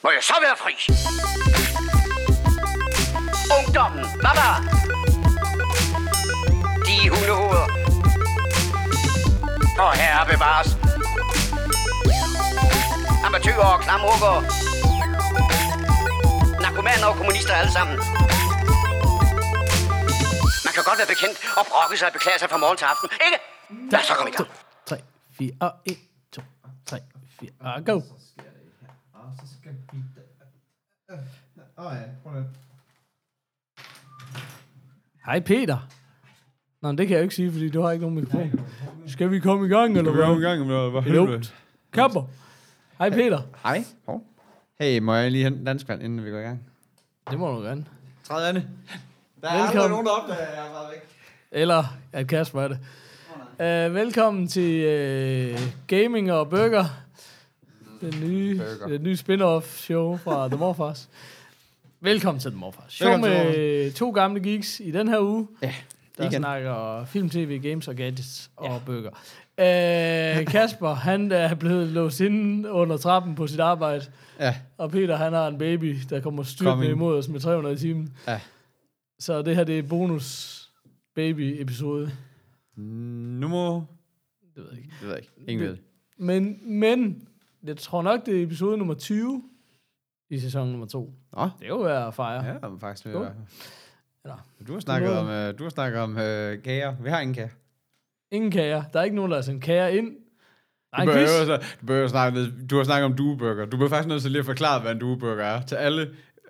så være fri. Ungdommen, baba. De hundehoveder. Og herre bevares. Amatøger og klamrukker. Narkomaner og kommunister alle sammen. Man kan godt være bekendt og brokke sig og beklage sig fra morgen til aften, ikke? Lad os så komme i gang. 3, 4, og 1, 2, 3, 4, og go. Så skal det her, og så skal vi... Øh, Åh oh, ja, prøv lige. Hej Peter. Nå, men det kan jeg jo ikke sige, fordi du har ikke nogen mikrofon. Skal vi komme i gang, eller Du er jo i hvad? gang med hvad Jo. helvede. Kapper. Hej Peter. Hej. Hov. Hey, må jeg lige hente danskvand, inden vi går i gang? Det må du gerne. 30 Anne. Der er Velkommen. aldrig nogen, der opdager, at jeg er bare væk. Eller at Kasper er det. Uh, velkommen til uh, Gaming og Burger. Den nye, Burger. den nye spin-off show fra The Morfars. velkommen til The Morfars. Show Velkommen til med to gamle geeks i den her uge. Ja, Der igen. Igen. snakker film, tv, games og gadgets og bøger. Øh, Kasper, han er blevet låst inde under trappen på sit arbejde. Ja, Og Peter, han har en baby, der kommer Kom styrtende ind. imod os med 300 i timen. Ja. Så det her, det er bonus baby-episode. Nummer... Det ved jeg ikke. det ved jeg ikke. Ingen ved det. Men, men, jeg tror nok, det er episode nummer 20 i sæson nummer 2. Nå, Det er jo værd at fejre. ja, men faktisk ved Skål. jeg. Eller- Du har snakket Skål. om, øh, du har snakket om øh, kager. Vi har ingen kager. Ingen kager. Der er ikke nogen, der har sendt kager ind. Der er Du en behøver, quiz. så, du, behøver snakke, du har snakket om dueburger. Du bliver faktisk nødt til lige at forklare, hvad en dueburger er til alle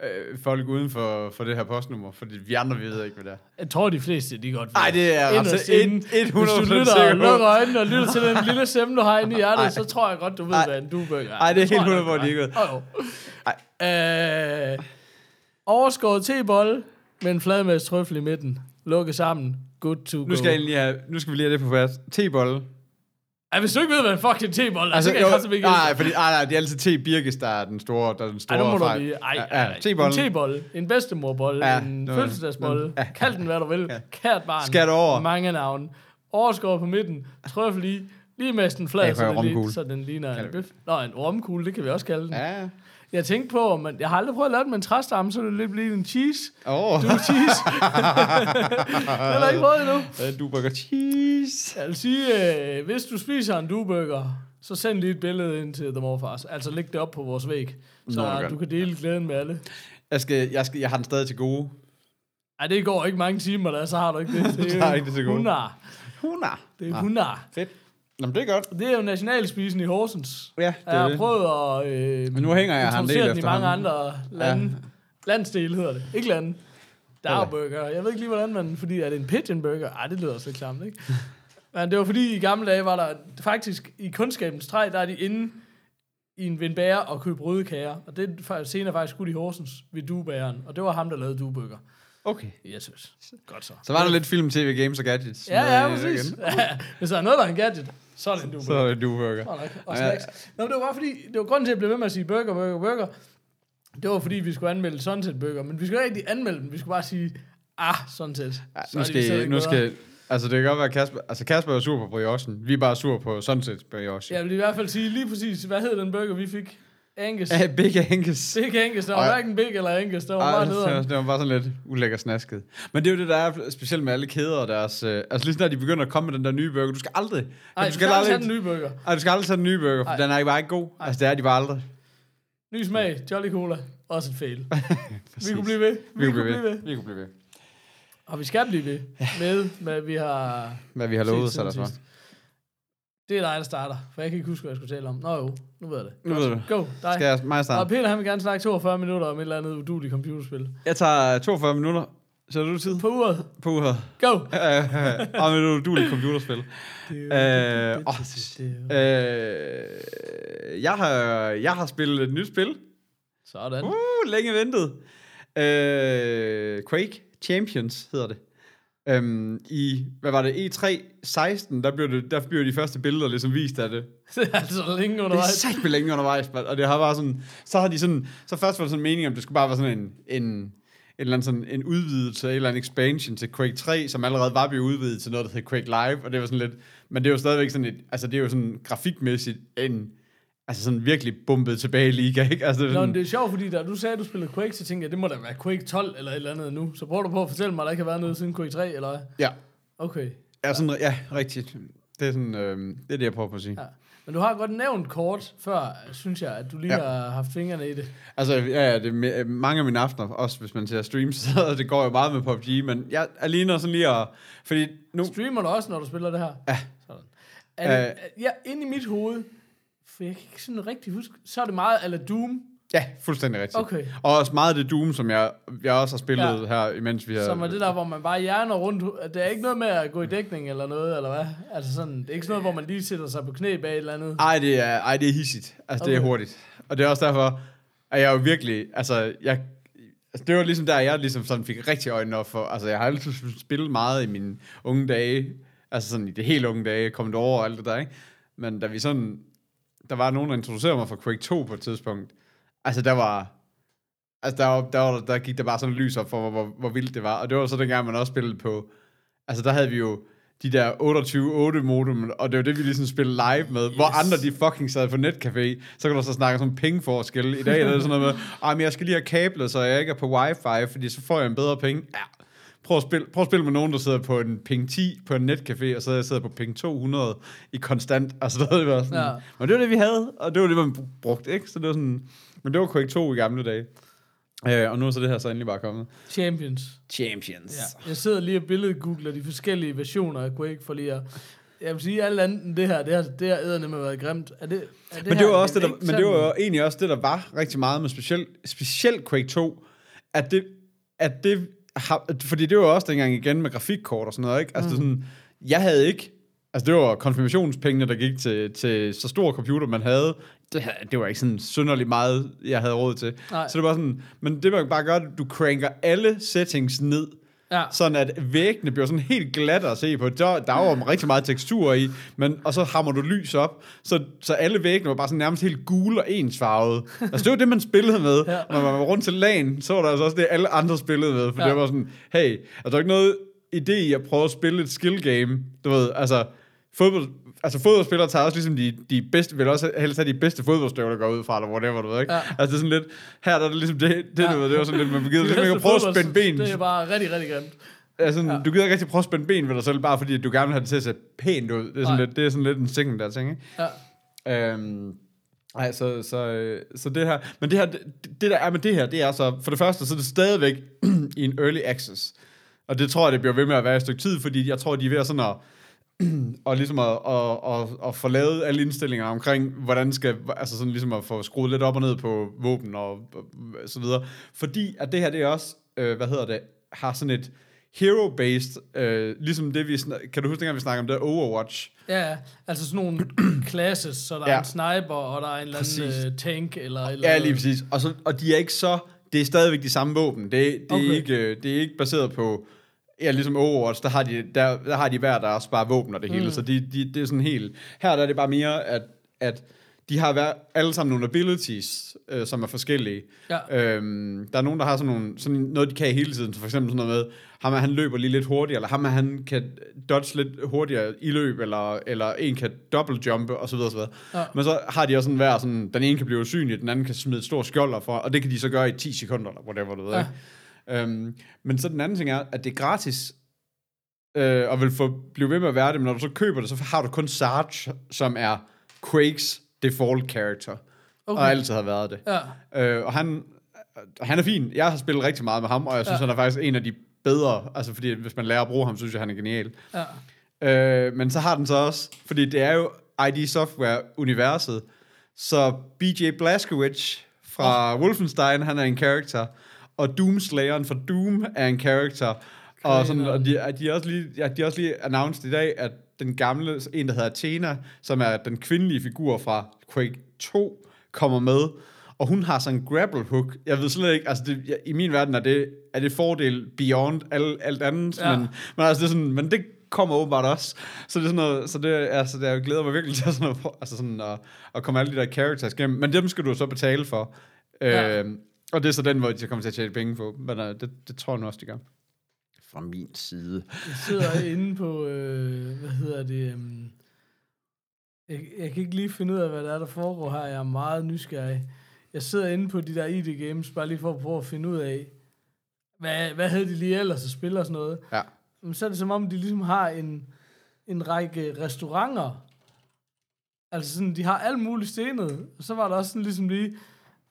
øh, folk uden for, for det her postnummer, fordi vi andre vi ved ikke, hvad det er. Jeg tror, de fleste, de godt ved. Nej, det er Inderst altså inde. 100% sikker Hvis du lytter og lukker på. øjnene og lytter til den lille stemme, du har inde i hjertet, så tror jeg godt, du ved, Ej. hvad en duebøger er. Ej, det er Tror helt jeg 100 hvor de ikke ved. nok. Åh, jo. Øh, overskåret tebolle med en fladmæs trøffel i midten. Lukket sammen. Good to go. Nu skal, jeg lige have, nu skal vi lige have det på plads. T-bolle. Ej, hvis du ikke ved, hvad en fucking tebolle er, altså, så kan jeg godt ikke nej, fordi, nej, nej, det er altid T-birkes, der er den store, der er den store Ej, nu må du fejl. lige... Ej, ej, ja, ej. ja, T-bollen. En tebolle, en bedstemorbolle, Ja, ja, en nu- fødselsdagsbolle. Ja. Kald den, hvad du vil. Kært barn. Skat over. Mange navne. Overskår på midten. Trøffel i. Lige mest den flad, Jeg så prøver den, lige, romkugle. så den ligner en Kalder vi bøf. Nå, en ormkugle, det kan vi også kalde den. Ja. Ja. Jeg tænkte på, om man, jeg har aldrig prøvet at lave den med en træstamme, så det lidt blive en cheese. Åh. Du cheese. det har jeg ikke prøvet endnu. Oh. Dueburger cheese. Jeg vil sige, øh, hvis du spiser en dueburger, så send lige et billede ind til The Morfars. Altså læg det op på vores væg, så Nå, det er du kan dele glæden med alle. Jeg, skal, jeg, skal, jeg har den stadig til gode. Ej, det går ikke mange timer, der, så har du ikke det. Det Så har jeg ikke Ah. det til gode. Hunar. Huna. Det er hunar. Fedt. Jamen, det er godt. Det er jo nationalspisen i Horsens. Ja, det jeg er har det. prøvet at øh, Men nu hænger jeg ham introducere lidt den i efter mange ham. andre lande. Ja. Landsdel hedder det. Ikke lande. Dagburger. Jeg ved ikke lige, hvordan man... Fordi er det en pigeon burger? Ej, det lyder også lidt klamt, ikke? Men det var fordi, i gamle dage var der faktisk... I kundskabens træ, der er de inde i en vindbære og købe røde kager. Og det er fa- senere faktisk skudt i Horsens ved duebæren. Og det var ham, der lavede duebøger. Okay. Jesus. Godt så. Så var der lidt film, tv, games og gadgets. Ja, ja, med, øh, præcis. igen. Hvis der er noget, der er en gadget, så er det en dueburger. Så er det dueburger. Godt nok. Og Ja. snacks. Nå, men det var bare fordi, det var grunden til, at jeg blev ved med at sige burger, burger, burger. Det var fordi, vi skulle anmelde Sunset Burger, men vi skulle ikke rigtig anmelde dem. Vi skulle bare sige, ah, Sunset. Ja, Så er nu de stadig skal, ikke nu bedre. skal, altså det kan godt være, at Kasper, altså Kasper er sur på briochen. Vi er bare sur på sunset brioche. Jeg vil i hvert fald sige lige præcis, hvad hed den burger, vi fik? Angus. Ja, Big Angus. Det er ikke Angus, der Ej. var hverken Big eller Angus, der var Ej, bare det, var, nederen. det var bare sådan lidt ulækker snasket. Men det er jo det, der er specielt med alle kæder og deres... Øh, altså lige snart de begynder at komme med den der nye burger, du skal aldrig... Ej, du du skal aldrig have den nye burger. Ej, du skal aldrig tage den nye burger, for Ej. den er bare ikke god. Altså det er de bare aldrig. Ny smag, Jolly Cola. Også et fail. vi kunne blive ved. Vi, kunne blive ved. Vi kunne blive ved. Og vi skal blive ved med, hvad vi har Hvad vi har lovet set sig siden der for. sidst. Det er dig, der starter, for jeg kan ikke huske, hvad jeg skulle tale om. Nå jo, nu ved jeg det. Nu ved du. Go, dig. Skal jeg mig Og starte? Peter, han vil gerne snakke 42 minutter om et eller andet uduligt computerspil. Jeg tager 42 minutter. Så er du tid På uret. på uret. Go! Øh, Om et uduligt computerspil. Øh, åh, øh, jeg, har, jeg har spillet et nyt spil. Sådan. Uh, længe ventet. Øh, Quake Champions hedder det. Øhm, I, hvad var det, E3 16, der blev, det, der blev de første billeder ligesom vist af det. Det er altså længe Det er undervejs. satme længe undervejs, mand. Og det har bare sådan, så har de sådan, så først var det sådan meningen, om det skulle bare være sådan en, en, en eller anden sådan en udvidelse, en eller anden expansion til Quake 3, som allerede var blevet udvidet til noget, der hedder Quake Live, og det var sådan lidt, men det er jo stadigvæk sådan et, altså det er jo sådan grafikmæssigt en, altså sådan virkelig bumpet tilbage i liga, ikke? Altså, det er Nå, men sådan, det er sjovt, fordi da du sagde, at du spillede Quake, så tænkte jeg, det må da være Quake 12 eller et eller andet nu. Så prøver du på at fortælle mig, at der ikke har været noget siden Quake 3, eller hvad? ja, Okay. ja, sådan, ja, rigtigt. Det er, sådan, øh, det er det, jeg prøver på at sige. Ja. Men du har godt nævnt kort før, synes jeg, at du lige ja. Ja. har haft fingrene i det. Altså, ja, ja, det er me- mange af mine aftener, også hvis man ser streams, så det går jo meget med PUBG, men jeg er lige nødt sådan lige at... Fordi nu... Streamer du også, når du spiller det her? Ja. Øh. Sådan. Er det, ja, inde i mit hoved, for jeg kan ikke sådan rigtig huske, så er det meget eller Doom, Ja, fuldstændig rigtigt. Okay. Og også meget af det Doom, som jeg, jeg også har spillet Ja. ja. her, imens vi har... ja. som er det der, hvor man bare hjerner rundt. at Det er ikke noget med at gå i dækning eller noget, eller hvad? Altså sådan, det er ikke sådan noget, hvor man lige sætter sig på knæ bag et eller andet. Ej, det er, ej, det er hissigt. Altså, okay. det er Okay. hurtigt. Og det er også derfor, at jeg jo virkelig... Altså, jeg, altså det var ligesom der, jeg ligesom sådan fik rigtig øjnene op for... Altså, jeg har altid spillet meget i mine unge dage. Altså sådan i det helt unge dage, kommet over og alt det der, ikke? Men da vi sådan... Der var nogen, der introducerede mig for Quake 2 på et tidspunkt. Altså, der var... Altså, der, var, der, var, der gik der bare sådan lys op for, hvor, hvor, hvor vildt det var. Og det var så dengang, man også spillede på... Altså, der havde vi jo de der 28-8 modem, og det var det, vi ligesom spillede live med, yes. hvor andre de fucking sad på netcafé, så kan du så snakke om pengeforskel. I dag er det sådan noget med, "Ej, men jeg skal lige have kablet, så jeg ikke er på wifi, fordi så får jeg en bedre penge. Ja. Prøv at, spille, prøv at spille med nogen, der sidder på en ping 10 på en netcafé, og så jeg sidder på ping 200 i konstant, altså det var det sådan. Ja. Ja. Men det var det, vi havde, og det var det, man br- brugte, ikke? Så det var sådan, men det var Quake 2 i gamle dage. Øh, og nu er så det her så endelig bare kommet. Champions. Champions. Ja. Ja. Jeg sidder lige og billedgoogler de forskellige versioner af Quake for lige at... Jeg vil sige, alt andet end det her, det har, det har eddernemame været grimt. Er det, er det Men det, her var også det, der, ikke men det sådan- var jo egentlig også det, der var rigtig meget med specielt, specielt Quake 2, at det, at det har, at- fordi det var også dengang igen med grafikkort og sådan noget, ikke? Altså mm. sådan, jeg havde ikke, altså det var konfirmationspengene, der gik til, til så stor computer, man havde. Det, havde- det var ikke sådan synderligt meget, jeg havde råd til. Nej. Så det var sådan, men det man bare gør, du cranker alle settings ned, Ja. sådan at væggene bliver sådan helt glatte at se på. Der, der var jo rigtig meget tekstur i, men, og så hammer du lys op, så, så alle væggene var bare sådan nærmest helt gule og ensfarvede. Altså det var det, man spillede med. Ja. Når man var rundt til lagen, så var der altså også det, alle andre spillede med, for Ja. ja. det var sådan, hey, er der ikke noget idé i at prøve at spille et skill game? Du ved, altså fodbold, altså fodboldspillere tager også ligesom de, de bedste, vil også helst have de bedste fodboldstøvler, går ud fra, eller whatever, du ved, ikke? Ja. Ja. Altså det er sådan lidt, her der er det ligesom det, det, Ja. ja. du ved, det var sådan lidt, man gider De ligesom bedste ikke at prøve at fodbold- spænde ben Det er bare rigtig, rigtig grimt. Altså, ja. du gider ikke rigtig prøve at spænde ben ved dig selv, bare fordi at du gerne vil have det til at se pænt ud. Det er sådan, Nej. lidt, det er sådan lidt en ting, der ting, ikke? Ja. Øhm, ej, så, så, øh, så det her... Men det, her, det, det, der er med det her, det er så... For det første, så er det stadigvæk i en early access. Og det tror jeg, det bliver ved med at være et stykke tid, fordi jeg tror, de er ved at sådan at og ligesom at, at, at, at få lavet alle indstillinger omkring, hvordan skal, altså sådan ligesom at få skruet lidt op og ned på våben og, og så videre. Fordi at det her, det er også, øh, hvad hedder det, har sådan et hero-based, øh, ligesom det vi, snak- kan du huske dengang vi snakkede om det, Overwatch? Ja, ja. altså sådan nogle classes, så der ja. er Ja. en sniper, og der er en eller Præcis. anden uh, tank, eller et eller Ja, andet. lige præcis. Og, så, og de er ikke så... Det er stadigvæk de samme våben. Det, det, okay. Okay. er, ikke, øh, det er ikke baseret på... Ja, ligesom Overwatch, der har de, der, der har de hver deres bare våben og det hele. Mm. Så de, de, det er sådan helt... Her der er det bare mere, at, at de har hver, alle sammen nogle abilities, øh, som er forskellige. Ja. Øhm, der er nogen, der har sådan, nogle, sådan noget, de kan hele tiden. Så for eksempel sådan noget med, ham her, han løber lige lidt hurtigere, eller ham her, han kan dodge lidt hurtigere i løb, eller, eller en kan dobbeltjumpe, osv. osv. Ja. Ja. Men så har de også sådan hver, sådan, den ene kan blive usynlig, den anden kan smide et stort skjold fra, og det kan de så gøre i 10 sekunder, eller whatever, du ved. Ja. Ja. Øhm, men så den anden ting er, at det er gratis, øh, og vil få, blive ved med at være det, men når du så køber det, så har du kun Sarge, som er Quakes default character, okay. Okay. og altid har været det. Ja. Øh, og han, og han er fin. Jeg har spillet rigtig meget med ham, og jeg synes, Ja. ja. han er faktisk en af de bedre. Altså, fordi hvis man lærer at bruge ham, synes jeg, han er genial. Ja. Øh, men så har den så også, fordi det er jo ID Software-universet, så BJ Blazkowicz fra oh. Wolfenstein, han er en karakter, og Doomslayeren fra Doom er en karakter, og, sådan, og de, og de, er også lige, ja, de er også lige announced i dag, at den gamle, en der hedder Athena, som er den kvindelige figur fra Quake 2, kommer med, og hun har sådan en grapple hook. Jeg ved slet ikke, altså det, jeg, i min verden er det, er det fordel beyond al, alt andet, Ja. ja. men men, altså, det er sådan, men det kommer åbenbart også. Så det er sådan noget, så det, altså, det, jeg glæder mig virkelig til sådan at, altså sådan at, at komme alle de der characters igennem. Men dem skal du så betale for. Ja. Ja. Øh, og det er så den, hvor de kommer til at tjene penge på. Men øh, det, det tror jeg nu også, de gør. Fra min side. Jeg sidder inde på, øh, hvad hedder det, um, øhm, Jeg, jeg kan ikke lige finde ud af, hvad der er, der foregår her. Jeg er meget nysgerrig. Jeg sidder inde på de der ID Games, bare lige for at prøve at finde ud af, hvad, hvad hed de lige ellers at spille og sådan noget. Ja. Men så er det som om, de ligesom har en, en række restauranter. Altså sådan, de har alt muligt stenet. Og så var der også sådan ligesom lige...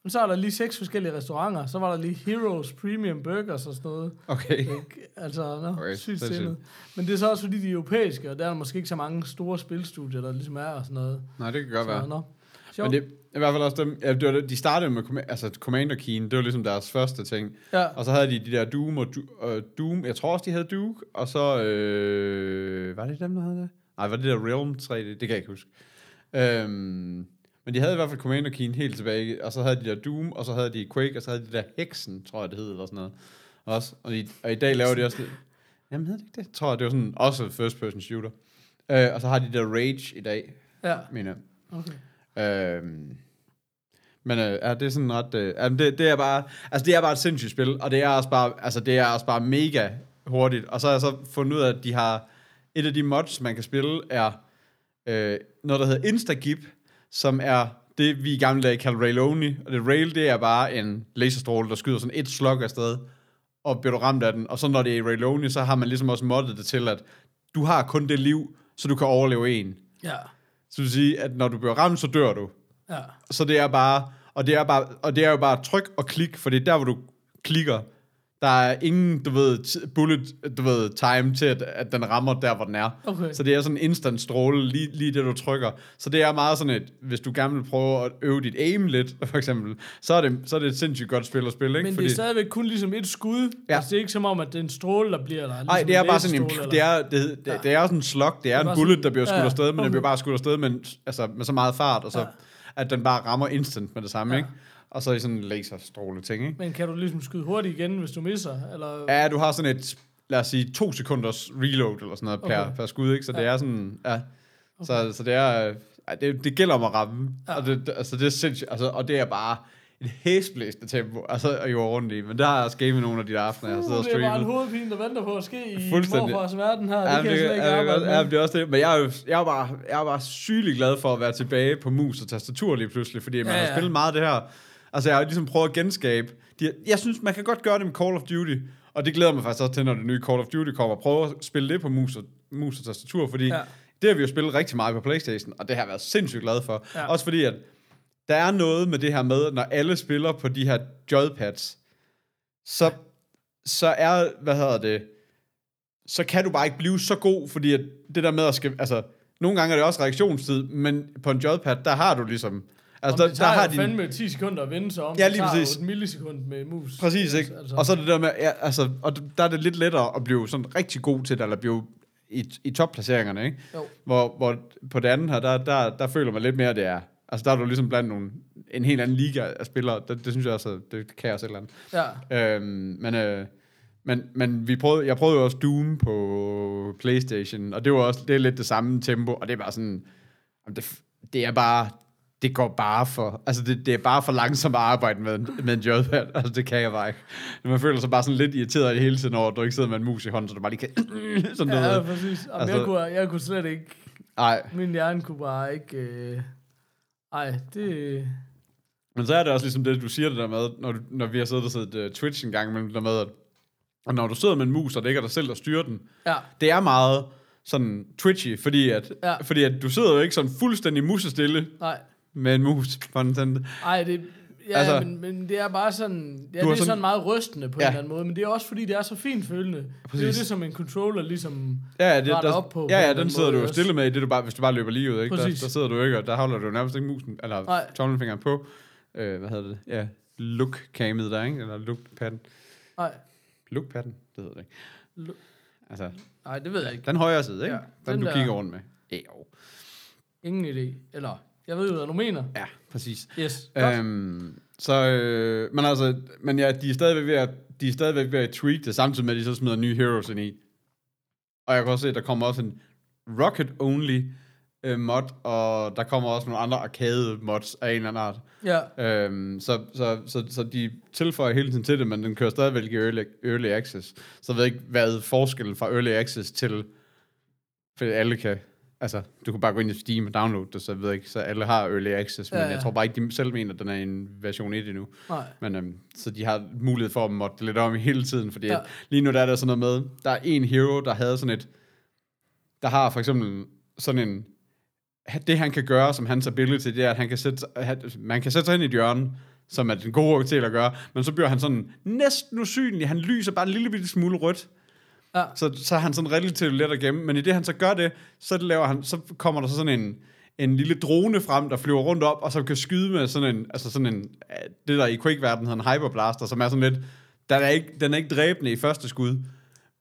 men Så var der lige seks forskellige restauranter. Så var der lige Heroes, Premium Burgers og sådan noget. Okay. Ikke? Altså, no, Okay, okay, sygt sindssygt. stenet. Men det er så også fordi, de er europæiske, og der er måske ikke så mange store spilstudier, der ligesom er og sådan noget. Nej, det kan godt være. Så, no. Men det er i hvert fald også dem, ja, det var, det- de startede med comma- altså Commander Keen, det var ligesom deres første ting. Ja. Og så havde de de der Doom og du, øh, Doom, jeg tror også, de havde Duke, og så, øh, var det dem, der havde det? Nej, var det der Realm 3D? Det kan jeg ikke huske. Øhm, men de havde i hvert fald Commander Keen helt tilbage, og så havde de der Doom, og så havde de Quake, og så havde de der Hexen, tror jeg det hed, eller sådan noget. Også. Og, i, og i dag laver de også... det- Jamen hed det ikke det? Jeg tror, det var sådan også first person shooter. Øh, og så har de der Rage i dag, Ja, mener jeg. okay. Øhm, men øh, ja, det er sådan ret... Øh, jamen, det, det, er bare, altså, det er bare et sindssygt spil, og det er også bare, altså, det er også bare mega hurtigt. Og så har jeg så fundet ud af, at de har... Et af de mods, man kan spille, er øh, noget, der hedder Instagip, som er det, vi i gamle dage kaldte Rail Only. Og det Rail, det er bare en laserstråle, der skyder sådan et slug afsted, og bliver du ramt af den. Og så når det er i Rail Only, så har man ligesom også moddet det til, at du har kun det liv, så du kan overleve en. Ja, Så det vil sige, at når du bliver ramt, så dør du. ja, Så det er bare, og det er, bare, og det er jo bare tryk og klik, for det er der, hvor du klikker. Der er ingen, du ved, ti- bullet, du ved, time til, at, at den rammer der, hvor den er. Okay. Så det er sådan en instant stråle, lige, lige det, du trykker. Så det er meget sådan et, hvis du gerne vil prøve at øve dit aim lidt, for eksempel, så er det, så er det et sindssygt godt spil at spille, ikke? Men Fordi... det er stadigvæk kun ligesom et skud. Ja. Ja. Altså, det er ikke som om, at det er en stråle, der bliver der. Ligesom Nej, det er en bare sådan en, læsestråle, det er, det, det, det er også en slok, det er, bare en bullet, sådan- der bliver skudt ja, afsted, men den okay. bliver bare skudt afsted med, en- altså, med så meget fart, og så, Ja. at den bare rammer instant med det samme, Ja. ikke? Og så i sådan en laserstråle ting, ikke? Men kan du ligesom skyde hurtigt igen, hvis du misser? Eller... Ja, du har sådan et, lad os sige, to sekunders reload eller sådan noget okay. per, Okay. per skud, ikke? Så det er sådan, ja. Så, så det er, øh, ej, det, det gælder om at ramme. Ja. Og, det, det- altså, det er sindssygt, altså, og det er bare et hæsblæsende tempo, altså at jorde rundt i. Men der har jeg også gamet nogle af de der aftener, jeg har siddet og Uh, det er bare en streamet. hovedpine, der venter på at ske i Fuldstændig. morfars verden her. Det Ja, kan jeg slet ikke arbejde ja, med. det er også det. Men jeg er, jo, jeg, er bare, jeg er bare sygelig glad for at være tilbage på mus og tastatur lige pludselig, fordi man Ja, ja, ja. har ja. spillet meget af det her. Altså, jeg har ligesom prøvet at genskabe. De, jeg synes, man kan godt gøre det med Call of Duty, og det glæder mig faktisk også til, når det nye Call of Duty kommer, at prøve at spille det på mus og, mus og tastatur, fordi ja. Ja. det har vi jo spillet rigtig meget på Playstation, og det har jeg været sindssygt glad for. Ja. Ja. Også fordi, at der er noget med det her med, at når alle spiller på de her joypads, så, så er, hvad hedder det, så kan du bare ikke blive så god, fordi at det der med at skal, altså, nogle gange er det også reaktionstid, men på en joypad, der har du ligesom, altså, Om der, det der tager har jo din, fandme 10 sekunder at vende sig om. Ja, Det lige tager jo præcis. et millisekund med mus. præcis, ikke? Altså, Og så er det der med, ja, altså, og der er det lidt lettere at blive sådan rigtig god til det, eller blive i, i topplaceringerne, ikke? Jo. Hvor, hvor på det andet her, der, der, der føler man lidt mere, det er, altså, der er du ligesom blandt nogle, en helt anden liga af spillere, det, det synes jeg også, det kan jeg også et eller andet. ja. Øhm, men, øh, men, men vi prøvede, jeg prøvede jo også Doom på Playstation, og det var også det er lidt det samme tempo, og det er bare sådan, jamen det, f- det er bare, det går bare for, altså det, det er bare for langsomt at arbejde med, en- med en joypad, altså det kan jeg bare ikke. Man føler sig bare sådan lidt irriteret hele tiden over, at du ikke sidder med en mus i hånden, så du bare lige kan, sådan Ja, noget. ja, præcis. Jamen, Altså- jeg, kunne, jeg kunne slet ikke... Nej, Min hjerne kunne bare ikke... Øh... Ej, det... Men så er det også ligesom det, du siger det der med, når, du- når vi har siddet og set uh, Twitch en gang imellem, det der med, at, at når du sidder med en mus, og det ikke er dig selv, der styrer den, Ja. det er meget sådan twitchy, fordi at, ja. Ja. fordi at du sidder jo ikke sådan fuldstændig musestille Nej. med en mus. for en sådan- Ej, det, ja, Altså- altså, men, men det er bare sådan, ja, Du det har er sådan, sådan- sådan meget rystende på Ja. ja. en eller anden måde, men det er også fordi, det er så fint følende. Det er jo Præcis. det, som en controller ligesom Ja, ja, det, retter der, op på. på ja, en ja eller den anden sidder måde du jo også. stille med i det, du bare, hvis du bare løber lige ud, ikke? Der, Præcis. der, sidder du ikke, og der holder du jo nærmest ikke musen, eller Nej. tommelfingeren på. Øh, hvad hedder det? Ja, look-camet der, ikke? Eller look-padden. Nej, Look-padden, det hedder det ikke. Look- Altså, nej, det ved jeg ikke. den højre side, ikke? Ja, den, den du der- kigger rundt med. Jo. Ingen idé. Eller, jeg ved jo, hvad du mener. Ja, præcis. Yes, godt. Øhm, så, øh, men altså, men ja, de er stadigvæk ved at, de er stadigvæk ved at tweak det, samtidig med, at de så smider nye heroes ind i. Og jeg kan også se, at der kommer også en rocket-only øh, mod, og der kommer også nogle andre arcade-mods af en eller anden art. ja, Øhm, så, så, så, så de tilføjer hele tiden til det, men den kører stadigvæk i early, early access. Så jeg ved ikke, hvad forskellen fra early access til, for alle kan altså, du kan bare gå ind i Steam og downloade det, så jeg ved ikke, så alle har Early Access, men Ja, ja, ja. ja. jeg tror bare ikke, de selv mener, at den er en version 1 endnu. Nej. Men øhm, så de har mulighed for at modde det lidt om hele tiden, fordi Ja. ja. lige nu der er der sådan noget med, der er en hero, der havde sådan et, der har for eksempel sådan en, det han kan gøre, som hans ability, det er, at han kan sætte, han, man kan sætte sig ind i et hjørne, som er den gode til at gøre, men så bliver han sådan næsten usynlig, han lyser bare en lille bitte smule rødt, Ja. så, så er han sådan relativt let at gemme, men i det han så gør det, så, laver han, så kommer der så sådan en, en lille drone frem, der flyver rundt op, og som kan skyde med sådan en, altså sådan en, øh, det der i Quake-verdenen hedder en hyperblaster, som er sådan lidt, der er ikke, den er ikke dræbende i første skud,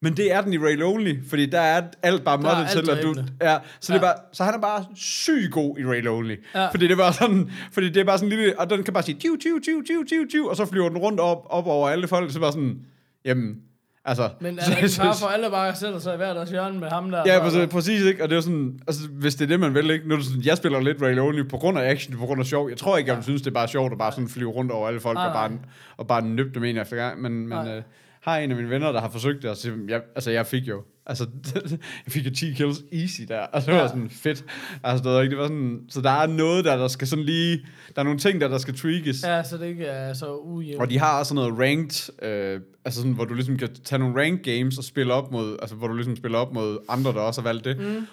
men det er den i Rail Only, fordi der er alt bare moddet alt til, at du, dræbende. Ja, så, det Ja. er bare, så han er bare syg god i Rail Only. Ja. Ja. Fordi, det er bare sådan, fordi det er bare sådan en lille... Og den kan bare sige... Tiu, tiu, tiu, tiu, tiu, tiu, og så flyver den rundt op, op over alle folk. Så bare sådan... Jamen... Altså... Men er så- der ikke så- far for alle bare sætter sig i hver deres hjørne med ham der? Ja, der- præcis, præcis, ikke? Og det er jo sådan, altså, hvis det er det, man vil, ikke? Nu er det sådan, jeg spiller lidt Rail Only på grund af action, på grund af sjov. Jeg tror ikke, jeg synes, det er bare sjovt at bare sådan flyve rundt over alle folk Nej, og bare, og bare nøbe dem en efter gang. Men, men Nej. øh, har en af mine venner, der har forsøgt det, og siger, jeg, altså, jeg fik jo, altså, jeg fik jo 10 kills easy der, og det var Ja. sådan fedt. Altså, det var, ikke, det var sådan, så der er noget der, der skal sådan lige, der er nogle ting der, der skal tweakes. Ja, så det ikke er så ujævnt. Og de har også sådan noget ranked, øh, altså sådan, hvor du ligesom kan tage nogle ranked games og spille op mod, altså hvor du ligesom spiller op mod andre, der også har valgt det. Mm.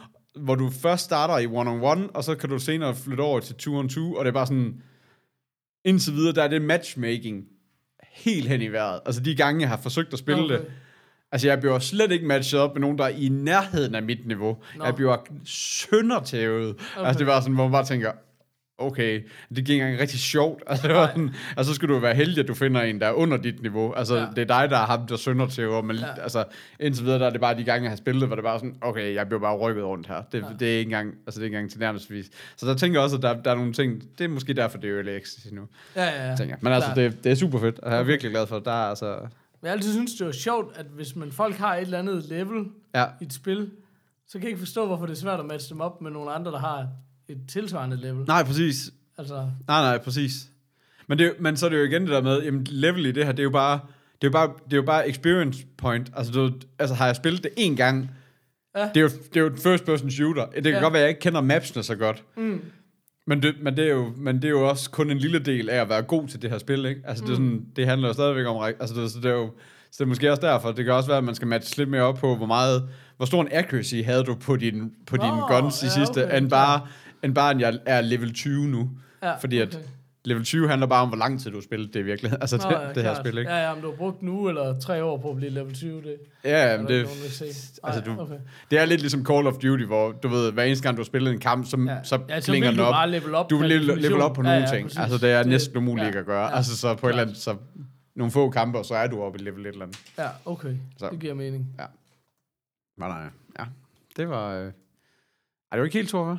Hvor du først starter i one-on-one, og så kan du senere flytte over til two-on-two, og det er bare sådan, indtil videre, der er det matchmaking helt hen i vejret. Altså de gange, jeg har forsøgt at spille okay. det, Okay. altså jeg bliver slet ikke matchet op med nogen, der er i nærheden af mit niveau. Nå. No. Jeg bliver søndertævet. Okay. Altså det var sådan, hvor man bare tænker, okay, det gik ikke engang rigtig sjovt. Altså, det var sådan, altså så skulle du være heldig, at du finder en, der er under dit niveau. Altså, Ja. ja. det er dig, der har ham, der sønder til, og man, Ja. ja. altså, indtil videre, der er det bare de gange, jeg har spillet, hvor det bare er sådan, okay, jeg bliver bare rykket rundt her. Det, ja. det er ikke engang, altså det er ikke engang til nærmest vis. Så der tænker jeg også, at der, der er nogle ting, det er måske derfor, det er early access nu, Ja, ja, ja. tænker jeg. Men altså, Klart. det, det er super fedt, og jeg er virkelig glad for, der er altså, Men jeg altid synes, det var sjovt, at hvis man folk har et eller andet level ja, i et spil, så kan jeg ikke forstå, hvorfor det er svært at matche dem op med nogle andre, der har et tilsvarende level. nej, præcis, Altså, Nej, nej, præcis. Men, det, er jo- men så er det jo igen det der med, jamen level i det her, det er jo bare, det er jo bare, det er jo bare experience point. Altså, du, altså har jeg spillet det én gang, Ja. ja. det, er jo, det er jo et first person shooter. Det kan Ja. ja. godt være, at jeg ikke kender mapsene så godt. Mm. Men, det, men, det er jo, men det er jo også kun en lille del af at være god til det her spil, ikke? Altså, det, er Mm. sådan, det handler jo stadigvæk om... ræk- Altså, det, så det er jo... Så det er måske også derfor, det kan også være, at man skal matche lidt mere op på, hvor meget, hvor stor en accuracy havde du på, din, på dine Nå, guns i ja, sidste, okay, end bare, end bare, at jeg er level 20 nu. Ja, Fordi at okay. level 20 handler bare om, hvor lang tid du har spillet det virkelig. Altså Nå, det, ja, det her klart. spil, ikke? Ja, ja, om du har brugt nu eller tre år på at blive level 20, det Ja, ja er men der det, ikke nogen, der vil se. altså, Ej, du, okay. det er lidt ligesom Call of Duty, hvor du ved, hver eneste gang du har spillet en kamp, Mm, så, Ja. ja. så Ja, ja, så klinger vil den du op. bare level op du per vil level, definition. level op på Ja, nogle ja, ting. præcis. Altså det er Det- næsten umuligt ja, at gøre. ja, altså så på et eller klart. andet, så nogle få kampe, og så er du oppe i level et eller andet. Ja, okay. Så. Det giver mening. Nej, nej, øh, ja. Det var... Øh... Ej, det var ikke helt tur, hva'?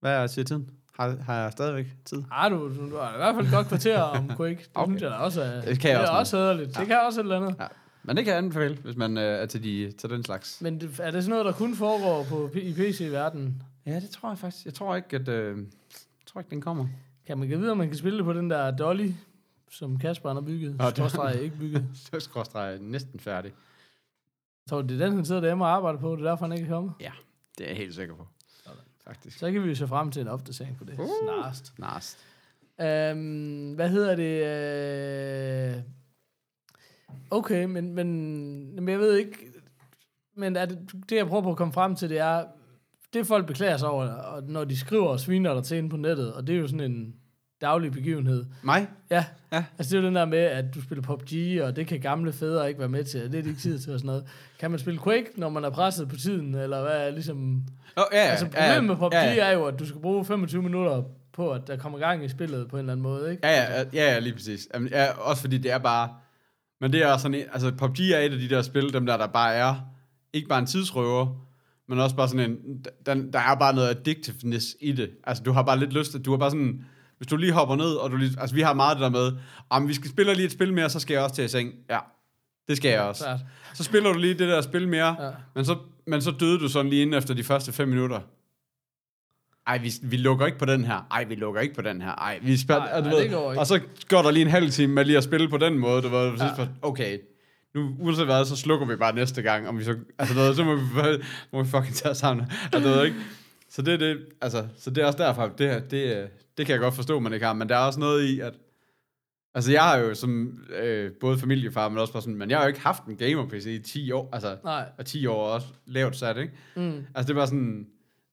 Hvad er siger tiden? Har, har jeg stadigvæk tid? Ej, du, du, du har i hvert fald et godt kvarter om Quake. Det okay. Okay. synes jeg da også er, Det kan jeg det er også også hederligt. Ja. Det Ja. kan også et eller andet. Ja. Men det kan jeg anbefale, hvis man øh, er til, de, til den slags. Men det, er det sådan noget, der kun foregår på, P- i PC-verdenen? Ja, det tror jeg faktisk. Jeg tror ikke, at øh, jeg tror ikke, den kommer. Kan man give videre, om man kan spille det på den der Dolly, som Kasper han har bygget? Nå, Nå, det- det... ikke bygget. Så skråstrej næsten færdig. Jeg tror, det er den, han sidder derhjemme og arbejder på. Det er derfor, han ikke er kommet. Det er jeg helt sikker på. Faktisk. Så kan vi jo se frem til en opdatering på det. Uh. Uh. Snarest. Nast. Um, hvad hedder det? Øh, Okay, men, men, men jeg ved ikke... Men er det, det, jeg prøver på at komme frem til, det er... Det folk beklager sig over, og når de skriver og sviner dig til inde på nettet, og det er jo sådan en daglig begivenhed. Mig? Ja. ja. Ja. Altså det er jo den der med, at du spiller PUBG, og det kan gamle fædre ikke være med til, og det er de ikke tid til og sådan noget. Kan man spille Quake, når man er presset på tiden, eller hvad er ligesom... Oh, ja, Altså problemet med PUBG er jo, at du skal bruge 25 minutter på, at der kommer gang i spillet på en eller anden måde, ikke? Ja, ja, ja, ja, ja, lige præcis. Jamen, ja, også fordi det er bare... Men det er også sådan... en- Altså, PUBG er et af de der spil, dem der, der bare er... Ikke bare en tidsrøver, men også bare sådan en... Der, der er bare noget addictiveness i det. Altså, du har bare lidt lyst... Du har bare sådan... Hvis du lige hopper ned, og du lige... Altså, vi har meget det der med... Om vi skal spille lige et spil mere, så skal jeg også til i seng. Ja, det skal jeg også. Klart. Så spiller du lige det der spil mere, Ja. ja. men, så, men så døde du sådan lige inden efter de første fem minutter. Ej, vi, vi lukker ikke på den her. Ej, vi lukker ikke på den her. Ej, vi spiller... Nej, og, du nej, ved, det går ikke. og så går der lige en halv time med lige at spille på den måde. Du ved, ja. sidst, okay, nu uanset hvad, så slukker vi bare næste gang. Om vi så, altså, du ved, så må vi, må vi fucking tage os sammen. Altså, du ved, ikke? Så det er det, altså, så det er også derfor, det, her, det, øh, det kan jeg godt forstå, man ikke har, men der er også noget i, at, altså jeg har jo som øh, både familiefar, men også bare sådan, men jeg har jo ikke haft en gamer-PC i 10 år, altså, Nej. og 10 år er også lavt sat, ikke? Mm. Altså det er bare sådan,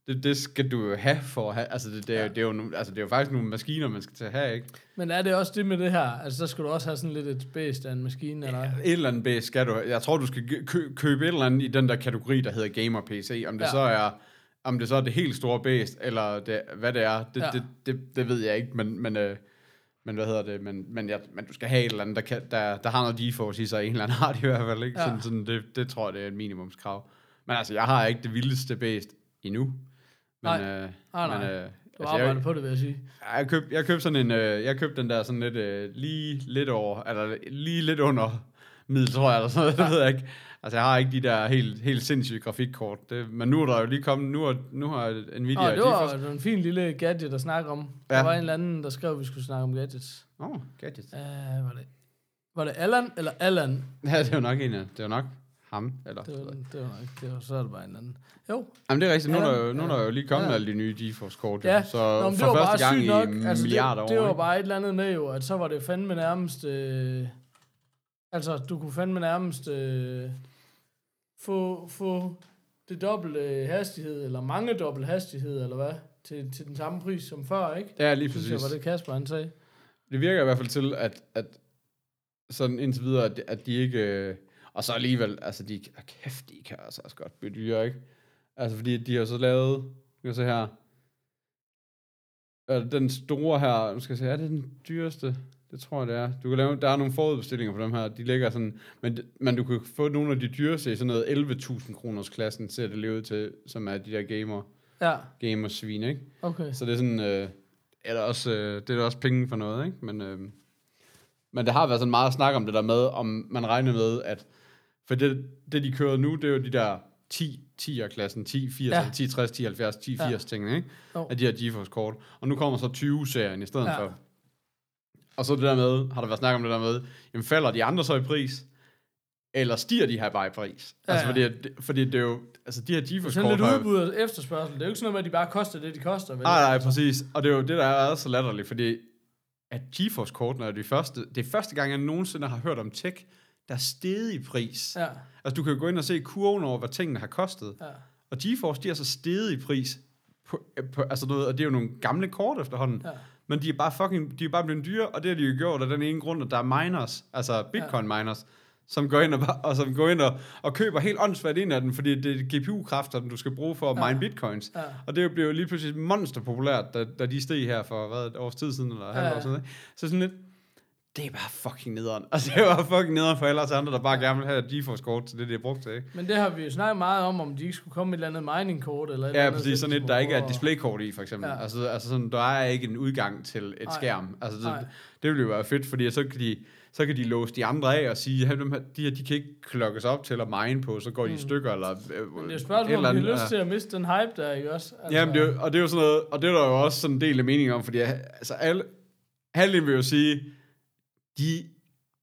det, det skal du jo have for at have, altså det, det, er, jo, det, er, jo, nogle- altså det er jo faktisk nogle maskiner, man skal til at have, ikke? Men er det også det med det her? Altså, så skal du også have sådan lidt et bæst af en maskine, eller? Et eller andet base skal du have. Jeg tror, du skal kø- kø- købe et eller andet i den der kategori, der hedder Gamer PC. Om Ja. det ja. så er om det så er det helt store base, eller det, hvad det er, det, Ja. ja. det, det, det, ved jeg ikke, men, men, øh, men hvad hedder det, men, men, ja, men du skal have et eller andet, der, kan, der, der har noget GeForce i sig, en eller anden har det i hvert fald, ikke? Ja. Ja. Sådan, sådan, det, det tror jeg, det er et minimumskrav. Men altså, jeg har ikke det vildeste base endnu. Men, Nej. Øh, Nej, men, nej. Du øh, altså, arbejder jeg, på det, vil jeg sige. jeg købte jeg køb sådan en, øh, jeg købte den der sådan lidt, øh, lige lidt over, eller lige lidt under middel, tror jeg, eller sådan noget, det ved jeg ikke. Altså, jeg har ikke de der helt, helt sindssyge grafikkort, det, men nu er der jo lige kommet, nu, er, nu har Nvidia... Åh, oh, det GeForce- var det var en fin lille gadget at snakke om. Ja. Ja. Der var en eller anden, der skrev, at vi skulle snakke om gadgets. Åh, oh, gadgets. Uh, var, det, var det Allan eller Allan? Ja, det var nok en af, det var nok ham, eller... Det var, det var nok, det var, så er det bare en eller anden. Jo, Jamen, det er rigtigt, nu, er der, jo- nu er Ja, der jo lige kommet ja. alle de nye GeForce-kort, jo. ja. så Nå, men for første gang i Altså, det, milliarder det år. var ikke? bare et eller andet med jo, at så var det fandme nærmest... Øh, altså, du kunne fandme nærmest øh, få, få det dobbelte hastighed, eller mange dobbelt hastighed, eller hvad, til, til den samme pris som før, ikke? Ja, lige Præcis. Det præcis. var det Kasper, han sagde. Det virker i hvert fald til, at, at sådan indtil videre, at, at de ikke... øh, Og så alligevel, altså de... Oh, kæft, de kan altså også godt blive dyre, ikke? Altså fordi de har så lavet... Nu kan jeg se her... Øh, Den store her, nu skal jeg se, er det den dyreste? Det tror jeg, det er. Du kan lave, der er nogle forudbestillinger på dem her, de ligger sådan, men, men du kan få nogle af de dyreste i sådan noget 11.000 kroners klassen, ser det lige ud til, som er de der gamer, Ja, gamersvin, ikke? okay. Så det er sådan, øh, er der også, øh, det er der også penge for noget, ikke? Men, øh, men der har været sådan meget snak om det der med, om man regner med, at for det, det de kører nu, det er jo de der 10, 10'er klassen, 10, 80, Ja. ja. 10, 60, 10, 70, 10, Ja. 80 ja. ting, ikke? Jo. Af de her GeForce kort. Og nu kommer så 20-serien i stedet Ja. ja. for. Og så det der med, har der været snak om det der med, jamen falder de andre så i pris? Eller stiger de her bare i pris? Ja, Ja, altså, ja. fordi, at- fordi det er jo, altså de her GeForce Sådan kort lidt udbud og efterspørgsel. Det er jo ikke sådan noget med, at de bare koster det, de koster. Vel? Nej, nej, præcis. Og det er jo det, der er så latterligt, fordi at GeForce-kortene er de første, det er første gang, jeg nogensinde har hørt om tech, der er steget i pris. Ja. Ja, Altså, du kan jo gå ind og se kurven over, hvad tingene har kostet. Ja. ja. Og GeForce, de er så steget i pris. På, øh, på, altså, du ved, og det er jo nogle gamle kort efterhånden. Ja. Ja. Men de er bare fucking, de er bare blevet dyre, og det har de jo gjort af den ene grund, at der er miners, altså bitcoin miners, som går ind og, bare- og, som går ind og, og køber helt åndssvagt ind af den, fordi det er GPU-kræfter, du skal bruge for at mine bitcoins. Ja. Og det blev jo lige pludselig monster populært, da, da de steg her for hvad, et års tid siden, eller halvt Ja, ja. ja. år siden. ikke? Så sådan lidt, det er bare fucking nederen. Altså, det var fucking nederen for alle os andre, der bare gerne vil have et GeForce-kort til det, det er brugt til. Ikke? Men det har vi jo snakket meget om, om de ikke skulle komme med et eller andet mining-kort. Eller et eller Ja, andet, præcis. så de Sådan et, skulle der ikke er prøve et at- displaykort i, for eksempel. Ja. Ja. Altså, altså sådan, der er ikke en udgang til et Nej. Nej. skærm. Altså, Nej. det, det ville jo være fedt, fordi så kan de, så kan de låse de andre af og sige, at de her, de kan ikke klokkes op til at mine på, så går de i stykker, eller øh, Mm. Men det er jo et et spørgsmål, om de har andet, lyst ja. til at miste den hype der, ikke også? Altså, Jamen, det, er jo- og det er jo sådan noget, og det er der jo også sådan en del af meningen om, fordi altså, alle, halvdelen vil jo sige, de,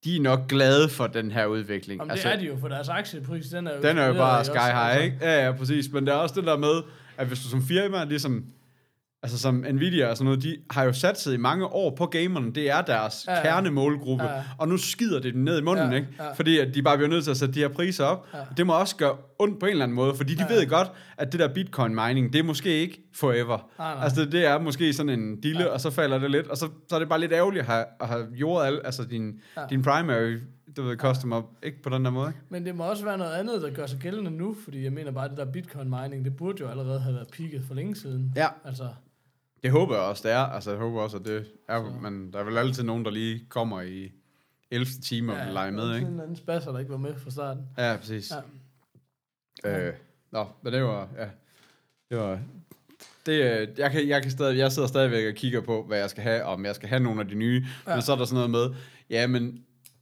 de er nok glade for den her udvikling. Jamen, altså, det er de jo, for deres aktiepris, den er jo... Den er jo eksploderet, bare ikke sky også? high, Altså, ikke? Ja, ja, præcis. Men der er også det der med, at hvis du som firma, ligesom, altså som Nvidia og sådan noget, de har jo satset i mange år på gamerne. Det er deres Ja, ja, ja. ja. kernemålgruppe. Ja, ja. Ja. Og nu skider det dem ned i munden, Ja, ja, ikke? ja. Ja. Fordi at de bare bliver nødt til at sætte de her priser op. Ja. Ja. Det må også gøre ondt på en eller anden måde, fordi de Ja, ja, ja. ja. ved godt, at det der bitcoin mining, det er måske ikke forever. Nej, nej. Altså det, det er måske sådan en dille, ja. og så falder det lidt, og så, så er det bare lidt ærgerligt at have, at have jordet al, altså din, Ja. ja. din primary du ved, customer, ikke på den der måde. ikke? Men det må også være noget andet, der gør sig gældende nu, fordi jeg mener bare, at det der bitcoin-mining, det burde jo allerede have været peaked for længe siden. Ja. Altså, Det håber jeg også, det er. Altså, jeg håber også, at det er, men der er vel altid nogen, der lige kommer i 11. time og ja, leger med, En ikke? eller anden spasser, der ikke var med fra starten. Ja, præcis. Ja. Øh, nå, men det var, ja. Det var, det, øh, jeg, kan, jeg, kan stadig, jeg sidder stadigvæk og kigger på, hvad jeg skal have, og om jeg skal have nogle af de nye. Ja. Men så er der sådan noget med, ja, men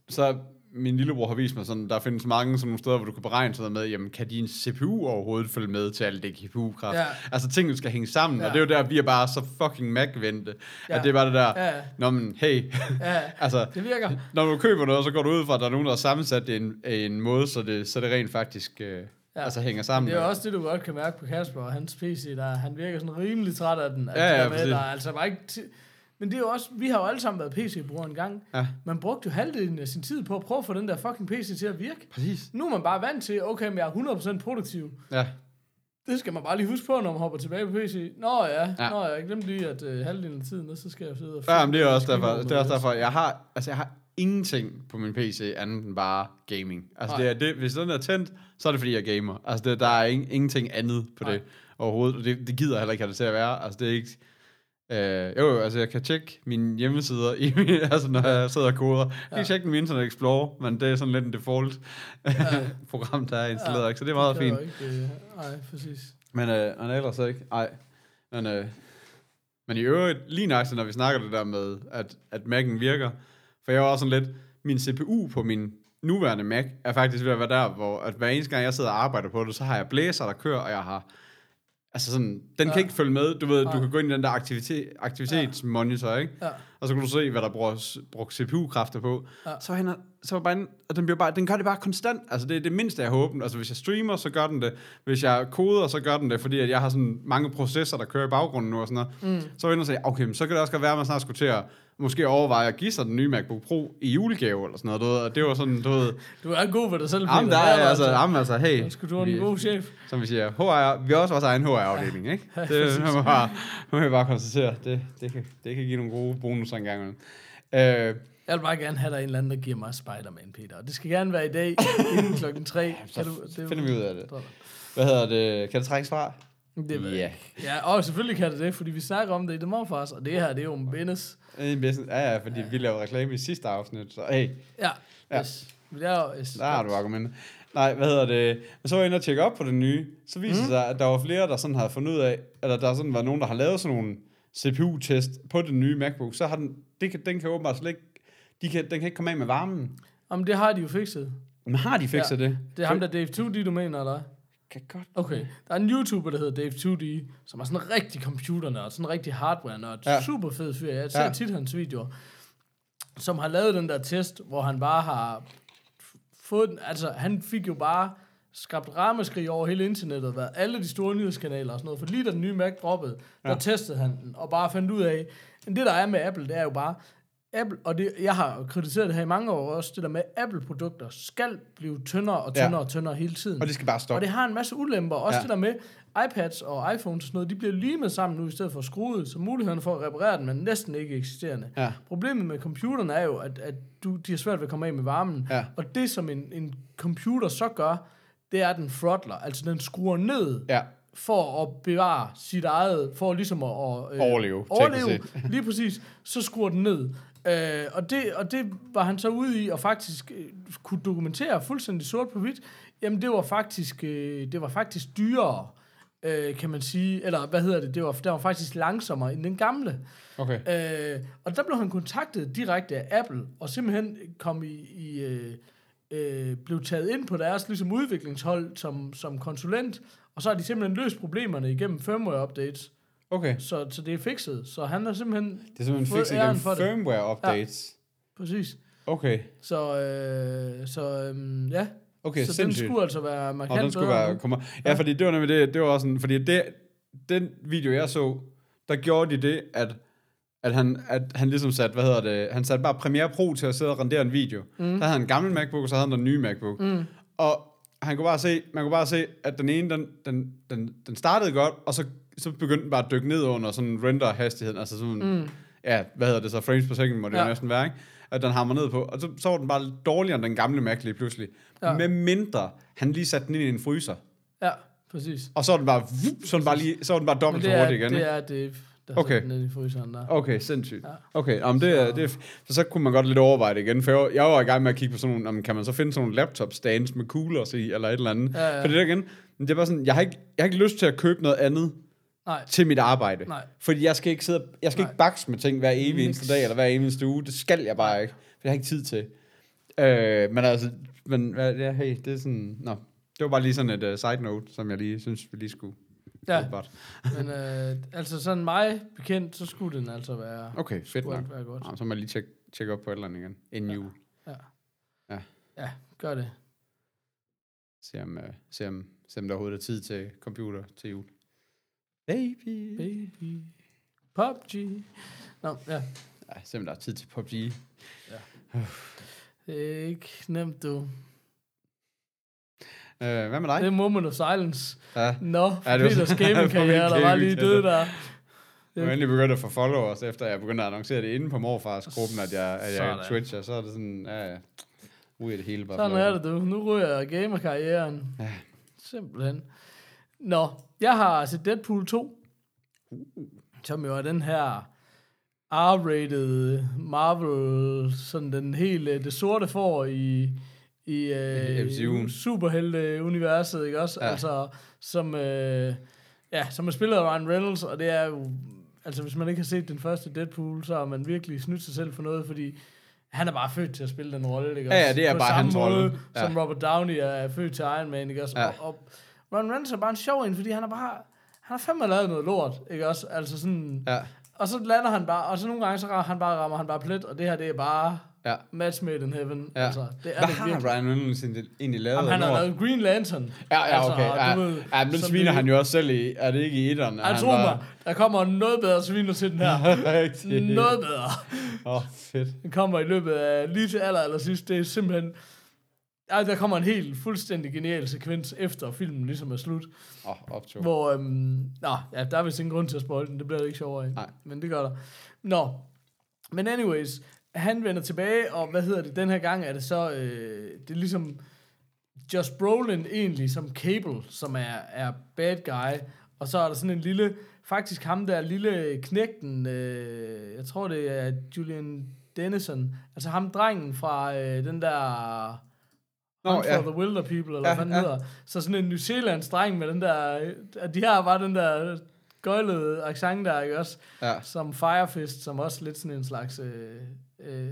så min lillebror har vist mig sådan, der findes mange sådan nogle steder, hvor du kan beregne sådan noget med, jamen kan din CPU overhovedet følge med til alt det GPU-kraft? Ja. Ja. Altså tingene skal hænge sammen, Ja. ja. og det er jo der, vi er bare så fucking magvendte. Ja. Ja. At det er bare det der, Ja, ja. Nå, men hey. Ja, altså, det virker. når du køber noget, så går du ud fra, at der er nogen, der har sammensat det en, en måde, så det, så det rent faktisk øh, Ja. altså hænger sammen. Det er jo også det, du godt kan mærke på Kasper og hans PC, der han virker sådan rimelig træt af den. At Ja, det ja, der med, præcis. der er altså bare ikke ti- men det er jo også, vi har jo alle sammen været PC-brugere en gang. Ja. Man brugte jo halvdelen af sin tid på at prøve at få den der fucking PC til at virke. Præcis. Nu er man bare vant til, okay, men jeg er 100% produktiv. Ja. Det skal man bare lige huske på, når man hopper tilbage på PC. Nå ja, Ja. ja. nå ja, glem lige, at øh, halvdelen af tiden, og så skal jeg sidde og... ja men det er også skrive derfor. over Det er også noget. derfor. Jeg har, altså, jeg har ingenting på min PC andet end bare gaming. Altså, det Nej. er det, hvis den er tændt, så er det fordi, jeg gamer. Altså, det, der er ing, ingenting andet på det Nej. overhovedet. Og det, det gider jeg heller ikke have det til at være. Altså, det er ikke... Øh, jo, jo, altså jeg kan tjekke mine hjemmesider, i, min- altså når jeg sidder og koder. Jeg kan tjekke min Internet Explorer, men det er sådan lidt en default program, der er installeret. ikke? så det er meget kan fint. jo Ikke, øh, nej, præcis. Men, øh, men ellers ikke. Nej. Men, øh, men i øvrigt, lige nøjagtigt, når vi snakker det der med, at, at Mac'en virker, for jeg var også sådan lidt, min CPU på min nuværende Mac er faktisk ved at være der, hvor at hver eneste gang, jeg sidder og arbejder på det, så har jeg blæser, der kører, og jeg har Altså sådan, den ja. kan Ja. ikke følge med. Du ved, du Nej. kan gå ind i den der aktivitet, aktivitetsmonitor, ikke? Ja. Og så kan du se, hvad der bruger, brugt CPU-kræfter på. Ja. Ja. Så, hænder, så var bare, en- og den, bliver bare, den gør det bare konstant. Altså, det er det mindste, jeg håber. Altså, hvis jeg streamer, så gør den det. Hvis jeg koder, så gør den det, fordi at jeg har sådan mange processer, der kører i baggrunden nu og sådan noget. Mm. Så ender og sige, okay, men så kan det også godt være, at man snart skulle til at måske overveje at give sig den nye MacBook Pro i julegave eller sådan noget, du ved. Og det var sådan, du ved, Du er god ved dig selv, jamen, der Peter. er Det altså, altså- jamen, altså, hey. Skulle du have en vi- god chef? som vi siger, HR, vi har også vores egen HR-afdeling, ikke? Det må man bare, må man bare konstatere. Det, det, kan, det kan give nogle gode bonusser engang. imellem. Øh, Jeg vil bare gerne have, at der er en eller anden, der giver mig Spider-Man, Peter. Og det skal gerne være i dag, inden klokken tre. så det, finder vi ud af det. hvad hedder det? Kan det trækkes fra? Det ved Ja. jeg ikke. Ja, og selvfølgelig kan det det, fordi vi snakker om det i The Morfars, og det her, det er jo en business. En business- Ja, ja, fordi vi lavede reklame i sidste afsnit, så hey, Ja, Ja. ja. Yes. Men det er jo... Yes. der har du argumentet. Nej, hvad hedder det? Men så var jeg inde og tjekke op på det nye, så viser Mhm. det sig, at der var flere, der sådan havde fundet ud af, eller der sådan var nogen, der har lavet sådan nogle CPU-test på den nye MacBook, så har den, det kan, den kan åbenbart slet ikke, de kan, den kan ikke komme af med varmen. Jamen, det har de jo fikset. Men har de fikset Ja. det? Det er ham, der er Dave 2D, du mener, eller hvad? Kan godt Okay, der er en YouTuber, der hedder Dave 2D, som er sådan en rigtig computernørd, sådan en rigtig hardware-nørd, Ja. ja. super fed fyr, jeg ser Ja. ja. tit hans videoer, som har lavet den der test, hvor han bare har f- fået den, altså han fik jo bare skabt rammeskrig over hele internettet, hvad alle de store nyhedskanaler og sådan noget, for lige da den nye Mac droppede, der Ja. testede han den, og bare fandt ud af, men det der er med Apple, det er jo bare, Apple, og det, jeg har jo kritiseret det her i mange år også, det der med, at Apple-produkter skal blive tyndere og Ja. tyndere og tyndere hele tiden. Og det skal bare Og stoppe. det har en masse ulemper. Også Ja. ja. det der med iPads og iPhones og sådan noget, de bliver limet sammen nu i stedet for skruet, så mulighederne for at reparere den er næsten ikke eksisterende. Ja. Problemet med computerne er jo, at, at du, de har svært ved at komme af med varmen. Ja. Og det, som en, en computer så gør, det er, at den throttler, altså den skruer ned Ja, for at bevare sit eget, for ligesom at, at øh, Overleve, overleve teknisk lige præcis, så skruer den ned. Øh, og, det, og det var han så ude i, og faktisk øh, kunne dokumentere fuldstændig sort på hvidt, jamen det var faktisk, øh, det var faktisk dyrere, øh, kan man sige, eller hvad hedder det, det var, det var faktisk langsommere end den gamle. okay. Øh, og der blev han kontaktet direkte af Apple, og simpelthen kom i, i øh, øh, blev taget ind på deres ligesom udviklingshold som, som konsulent, og så har de simpelthen løst problemerne igennem firmware-updates, Okay. så, så det er fikset. Så han er simpelthen... Det er simpelthen Øh, fået fikset æren igennem for det. firmware updates. Præcis. Okay. Så, øh, så øh, ja. Okay, så sindssygt. den skulle altså være markant Og den skulle bedre være nu. kommer. Ja, fordi det var nemlig det, det var sådan, fordi det, den video jeg så, der gjorde de det, at at han, at han ligesom satte, hvad hedder det, han satte bare Premiere Pro til at sidde og rendere en video. Mm. Der havde han en gammel MacBook, og så havde han den nye MacBook. Mm. Og han kunne bare se, man kunne bare se, at den ene, den, den, den, den startede godt, og så, så begyndte den bare at dykke ned under sådan render-hastigheden, altså sådan, mm. ja, hvad hedder det så, frames per second må det ja. Ja. næsten være, ikke? At den hammer ned på, og så, så var den bare lidt dårligere end den gamle Mac lige pludselig. Ja. Med mindre han lige satte den ind i en fryser. Ja, præcis. Og så var den bare, vup, så var den bare, lige, så var den bare Men dobbelt det så er, hurtigt igen. det ikke? er det, der Okay. okay. den nede i fryseren der. Okay, sindssygt. Okay, jamen det, er, det er, så, så kunne man godt lidt overveje det igen, for jeg, var- jeg var i gang med at kigge på sådan nogle, jamen, kan man så finde sådan nogle laptop stands med coolers i, eller et eller andet. Ja, ja. For det der igen, men det er bare sådan, jeg har, ikke, jeg har ikke lyst til at købe noget andet Nej, til mit arbejde. Nej. Fordi jeg skal ikke sidde, jeg skal Nej. ikke bakse med ting hver evig eneste Niks. dag, eller hver evig eneste uge. Det skal jeg bare ikke, for jeg har ikke tid til. Øh, men altså, men, hvad- ja, hey, det er sådan, nå. Det var bare lige sådan et uh, side note, som jeg lige synes, vi lige skulle. ja. åbenbart. Men øh, altså sådan mig bekendt, så skulle den altså være... Okay, fedt Skulle nok. alt være godt. Jamen, så må jeg lige tjekke tjek op på et eller andet igen. Inden jul. Ja. Ja. Ja, gør det. Se om, uh, se om, Selvom der overhovedet er tid til computer til jul. Baby. Baby. PUBG. Nå, ja. Nej, selvom der er tid til PUBG. Det er ikke nemt, du. Øh, hvad med dig? Det er moment of silence. Ja. Nå, Ja, ja, det var Peters så- gamingkarriere, der var lige død der. Jeg er endelig begyndt at få followers, efter jeg begyndte at annoncere det inde på morfarsgruppen, at jeg, at jeg Sådan. twitcher. Så er det sådan, ja, ja. Ud af det hele bare. Sådan fløjten. er det, du. Nu ryger jeg gamerkarrieren. Ja. Simpelthen. Nå, jeg har set Deadpool 2. Uh. Som jo er den her R-rated Marvel, sådan den helt øh, det sorte får i, i øh, MCU'en. superhelte-universet, ikke også? Ja. Ja. Altså, som, øh, ja, som er spillet af Ryan Reynolds, og det er jo, altså hvis man ikke har set den første Deadpool, så har man virkelig snydt sig selv for noget, fordi han er bare født til at spille den rolle, ikke Ja, ja, også? det er På bare samme hans måde, rolle. Ja. Som Robert Downey er født til Iron Man, ikke også? Ja. Ja. Og, og Ron Reynolds er bare en sjov en, fordi han er bare... Han har fandme lavet noget lort, ikke også? Altså sådan... Ja, Og så lander han bare, og så nogle gange, så rammer han bare, rammer han bare plet, og det her, det er bare ja. match made in heaven. ja. Altså, det er Hvad det har virkelig. Ryan Reynolds egentlig- egentlig lavet? Jamen, han har Når- lavet Green Lantern. Altså, Ja, ja, okay. og Ja, du ved, ja, men den som sviner det- han jo også selv i. Er det ikke i etteren? at Ej, tro var- mig, der kommer noget bedre sviner til den her. Rigtig. noget bedre. Åh, oh, fedt. Den kommer i løbet af lige til aller, aller sidst. Det er simpelthen... Ej, der kommer en helt fuldstændig genial sekvens efter filmen ligesom er slut. Åh, oh, optog. Hvor, øhm, nå, ja, der er vist ingen grund til at spoil den. Det bliver det ikke sjovere af. Nej. Men det gør der. Nå, men anyways, han vender tilbage, og hvad hedder det, den her gang er det så, øh, det er ligesom Josh Brolin egentlig som Cable, som er, er bad guy, og så er der sådan en lille, faktisk ham der lille knægten, øh, jeg tror det er Julian Dennison, altså ham drengen fra øh, den der... Nå, Hunt ja. for the Wilder People, eller Ja, ja, hvad den ja. ja. hedder. Så sådan en New Zealands dreng med den der... At de her var den der gøjlede accent der, ikke også? Ja. Som Firefist, som også lidt sådan en slags... Øh, øh,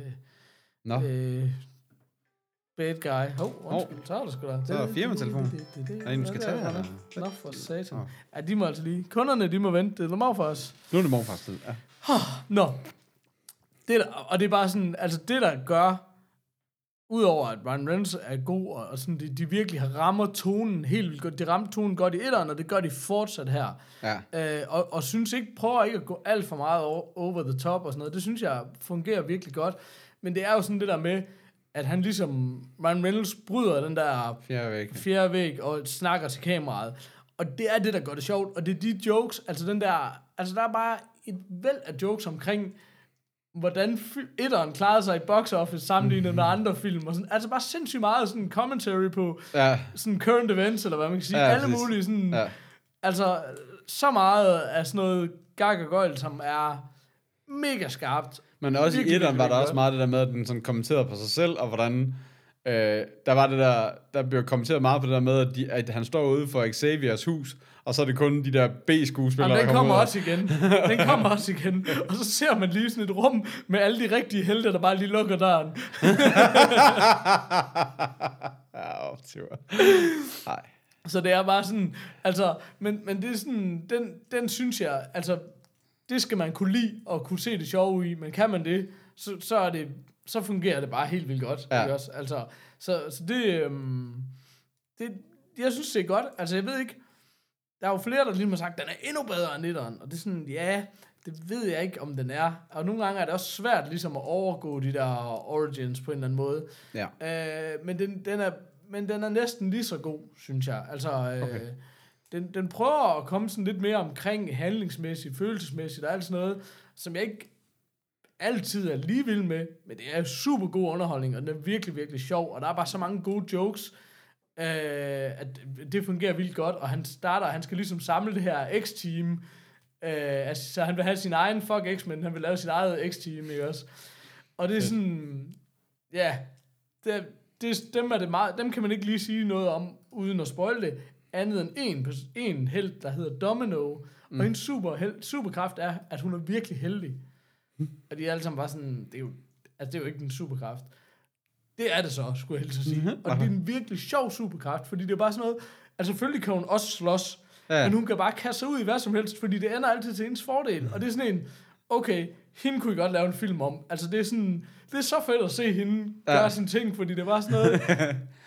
Nå, øh, bad guy. Hov, oh, undskyld, så er det sgu da. Så er der firmatelefon. Der er en, du skal tage, eller? Nå, for satan. Nå. Ja, de må altså lige... Kunderne, de må vente. Det er normalt for os. nu er det morfars tid. Ja. Nå. Det der, og det er bare sådan, altså det der gør, udover at Ryan Reynolds er god, og, og sådan, de, de virkelig har- rammer tonen helt vildt godt. De ramte tonen godt i etteren, og det gør de fortsat her. ja. Øh, og, og synes ikke, prøver ikke at gå alt for meget over, over the top og sådan noget. Det synes jeg fungerer virkelig godt. Men det er jo sådan det der med, at han ligesom, Ryan Reynolds bryder den der Fjerde væg. fjerde væg og snakker til kameraet. Og det er det, der gør det sjovt. Og det er de jokes, altså den der... Altså der er bare et væld af jokes omkring, hvordan fy- etteren klarede sig i box office Mhm. sammenlignet med andre film. Og sådan, altså bare sindssygt meget sådan commentary på Ja. sådan current events, eller hvad man kan sige. Ja, Ja, Alle præcis. mulige sådan... Ja. Ja. Altså, så meget af sådan noget gag og gøjl, som er mega skarpt. Men også i Virkelig, etteren var virkelig der også godt. meget det der med, at den sådan kommenterede på sig selv, og hvordan... Øh, der var det der, der blev kommenteret meget på det der med, at, de, at han står ude for Xaviers hus, og så er det kun de der B-skuespillere, Jamen, den der kommer ud af- også igen. Den kommer også igen. Og så ser man lige sådan et rum med alle de rigtige helte, der bare lige lukker døren. ja, optiver. Nej. Så det er bare sådan, altså, men, men det er sådan, den, den synes jeg, altså, det skal man kunne lide og kunne se det sjove i, men kan man det, så, så er det, så fungerer det bare helt vildt godt. Ja. Ja. Ikke også? Altså, så, så det, øhm, det, jeg synes, det er godt. Altså, jeg ved ikke, der er jo flere, der lige har sagt, den er endnu bedre end etteren, og det er sådan, ja, det ved jeg ikke, om den er. Og nogle gange er det også svært ligesom at overgå de der origins på en eller anden måde. Ja. Øh, men, den, den er, men den er næsten lige så god, synes jeg. Altså, øh, Okay. okay. den, den prøver at komme sådan lidt mere omkring handlingsmæssigt, følelsesmæssigt og alt sådan noget, som jeg ikke altid er lige vild med, men det er super god underholdning, og den er virkelig, virkelig sjov, og der er bare så mange gode jokes, øh, at det fungerer vildt godt, og han starter, han skal ligesom samle det her X-team, øh, altså, så han vil have sin egen fuck X-men, han vil lave sit eget X-team, ikke også? Og det er sådan, ja, det, det, dem, er det meget, dem kan man ikke lige sige noget om, uden at spoil det, andet end en, pers- en held, der hedder Domino, mm. og hendes super held, superkraft er, at hun er virkelig heldig. Og de er alle sammen bare sådan, det er jo, altså det er jo ikke en superkraft. Det er det så, skulle jeg helst sige. Og det er en virkelig sjov superkraft, fordi det er bare sådan noget, altså selvfølgelig kan hun også slås, Ja. ja. men hun kan bare kaste sig ud i hvad som helst, fordi det ender altid til hendes fordel. Og det er sådan en, okay, hende kunne I godt lave en film om. Altså, det er sådan, det er så fedt at se hende gøre Ja. sine ting, fordi det var sådan noget,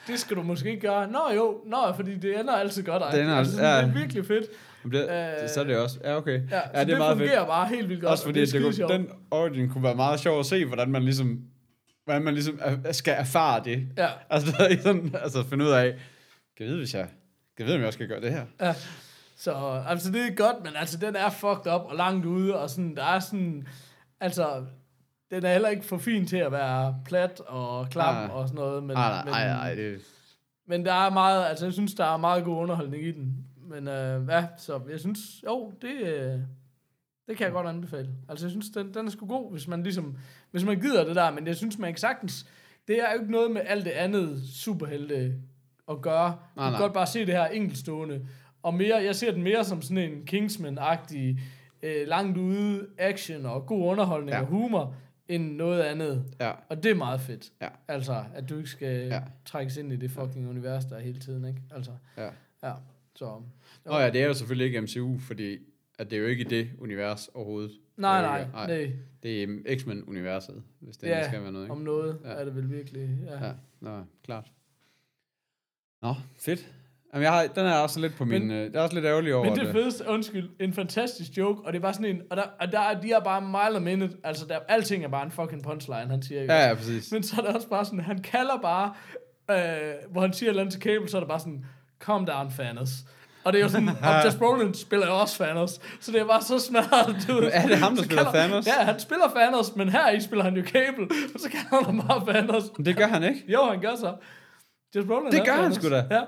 det skal du måske ikke gøre. Nå jo, nå, fordi det ender altid godt. ej. Det ender altså, alt- sådan, det er ja. virkelig fedt. Jamen, Det, Øh, øh, så er det også. Ja, okay. Ja, ja så det, det meget fedt. fungerer fedt. bare helt vildt godt. Også fordi og det Altså, det er det skidesjovt. kunne, den origin kunne være meget sjov at se, hvordan man ligesom hvordan man ligesom er- skal erfare det. Ja. Altså, der er ikke sådan, altså finde ud af, kan jeg vide, hvis jeg, kan jeg vide, om jeg også skal gøre det her? Ja. Så altså, det er godt, men altså, den er fucked up og langt ude, og sådan, der er sådan, altså, den er heller ikke for fin til at være plat og klam Nej. og sådan noget, men, Ah, Nej, nej, men, nej, nej, det men der er meget, altså, jeg synes, der er meget god underholdning i den, men øh, ja, så jeg synes, jo, det, øh, det kan jeg godt anbefale. Altså, jeg synes, den, den er sgu god, hvis man ligesom, hvis man gider det der, men jeg synes, man kan sagtens, det er jo ikke noget med alt det andet superhelte at gøre. Du Nej, kan nej. godt bare se det her enkeltstående. Og mere, jeg ser den mere som sådan en Kingsman-agtig, øh, langt ude action og god underholdning ja. Ja. og humor, end noget andet. Ja. Og det er meget fedt. Ja. Altså, at du ikke skal ja. Ja. trækkes ind i det fucking univers, der er hele tiden, ikke? Altså, ja. ja. Så, Nå ja, det er jo selvfølgelig ikke MCU, fordi at det er jo ikke i det univers overhovedet. nej, Det er jo nej, ikke- nej. nej. Det er øhm, X-Men-universet, hvis det Ja, ja, skal være noget, ikke? om noget ja. Ja. er det vel virkelig. Ja. Ja, nå, klart. Nå, fedt. Jamen, jeg har, den er også lidt på min... Men- Men, øh, det er også lidt ærgerlig over Men det fedeste, undskyld, en fantastisk joke, og det er bare sådan en, og der, og der er, de er bare mile a minute, altså der, alting er bare en fucking punchline, han siger jo. Ja, ja, præcis. Men så er det også bare sådan, han kalder bare, øh, hvor han siger et eller andet til Cable, så er det bare sådan, calm down, Thanos. Og det er jo sådan, og Josh Brolin spiller jo også Thanos, så det er bare så smadret ud. Er det ham, der Så spiller kalder- Thanos? Ja, han spiller Thanos, men her i spiller han jo Cable, og så kalder han ham bare Thanos. Men det gør han ikke. Jo, han gør så. Josh Brolin Det er gør han Thanos. sgu da. Ja.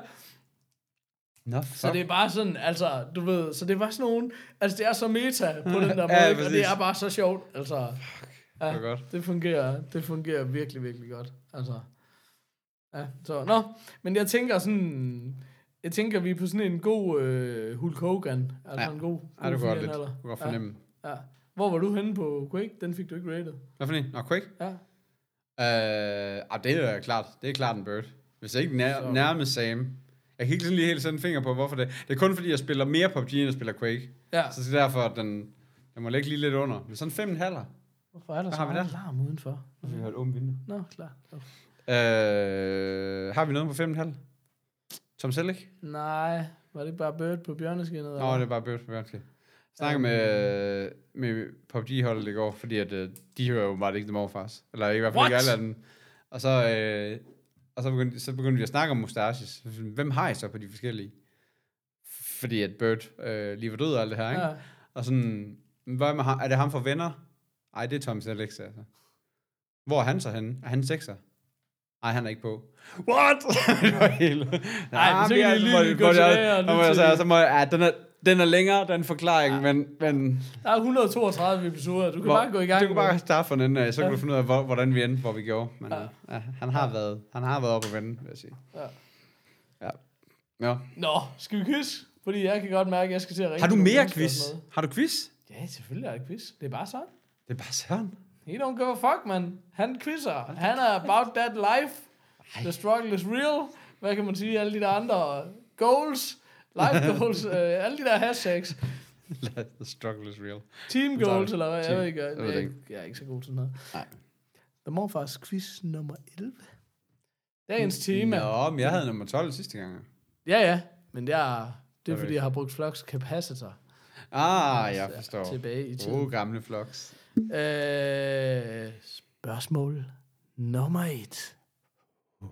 Nå, Så det er bare sådan, altså, du ved, så det er bare sådan nogen, altså det er så meta på den der måde, Ja, ikke? og det præcis. er bare så sjovt, altså. Ja, hvor godt. Det fungerer, det fungerer virkelig, virkelig godt, altså. Ja, så, nå, men jeg tænker sådan, jeg tænker, vi er på sådan en god øh, Hulk Hogan, altså Ja. en god Ej, det kunne godt lidt. Hulk-finalder. Du kunne godt fornemme. Ja, ja. Hvor var du henne på Quake? Den fik du ikke rated. Hvad for en? Nå, Quake? Ja, Øh, ah, det er klart. Det er klart en bird. Hvis jeg ikke nær, Så- nærmest Sam. Jeg kan ikke sådan lige helt sætte en finger på, hvorfor det Det er kun fordi, jeg spiller mere PUBG, end jeg spiller Quake. ja. Så det er derfor, at den, den må ligge lige lidt under. Men sådan fem en halver. Hvorfor er der så har vi meget der? larm udenfor? Vi har et åbent vindue. Nå, klar. Okay. Øh, har vi noget på fem en halv? Tom Selleck? Nej, var det ikke bare Bird på bjørneskinnet? Nå, eller? det er bare Bird for Bjørnske. Snakker med, med PUBG-holdet i går, fordi at, øh, de hører jo bare ikke dem over for os. Eller i hvert fald ikke What? alle af dem. Og så, øh, og så, begyndte, så begyndte vi at snakke om mustaches. Så sådan, Hvem har I så på de forskellige? Fordi at Bird øh, lige var død og alt det her, ikke? Ja. Og sådan, hvad med ham? er det ham for venner? Ej, det er Tom Selleck, altså. Hvor er han så henne? Er han sekser? Nej, han er ikke på. What? det var helt... Ah, hvis ikke I lige vil gå tilbage og og lytte til det. så må jeg, ja, den er, den er længere, den forklaring, men, men Der er 132 episoder. Du kan hvor, bare gå i gang. du kan med- bare starte fra den ende af, så kan Ja. du finde ud af, hvor, hvordan vi endte, hvor vi gjorde. Men Ja. ja. Ja, han, har været, han har været oppe at vende, vil jeg sige. Ja. ja. Nå. Nå, skal vi kysse? Fordi jeg kan godt mærke, at jeg skal til at ringe. Har du til nogle mere mennesker og quiz? sådan Har du quiz? noget. Ja, selvfølgelig er der quiz. Det er bare sådan. Det er bare sådan. He don't give a fuck, man. Han quizzer. Han er about that life. The struggle is real. Hvad kan man sige? Alle de der andre goals. Life goals. øh, alle de der hashtags. The struggle is real. Team tager goals, vi. eller hvad? Jeg Team. ved ikke. Jeg, Jeg ved det jeg, ikke. jeg er ikke så god til sådan noget. Nej. The Morfars quiz nummer 11. Dagens tema. Nå, men jeg havde nummer 12 sidste gang. Ja, ja. Men jeg, det er, Okay. fordi jeg har brugt Flux Capacitor. Ah, jeg Altså, forstår. Tilbage i tiden. Åh, oh, gamle floks. Øh, spørgsmål nummer et. Ja, Uh.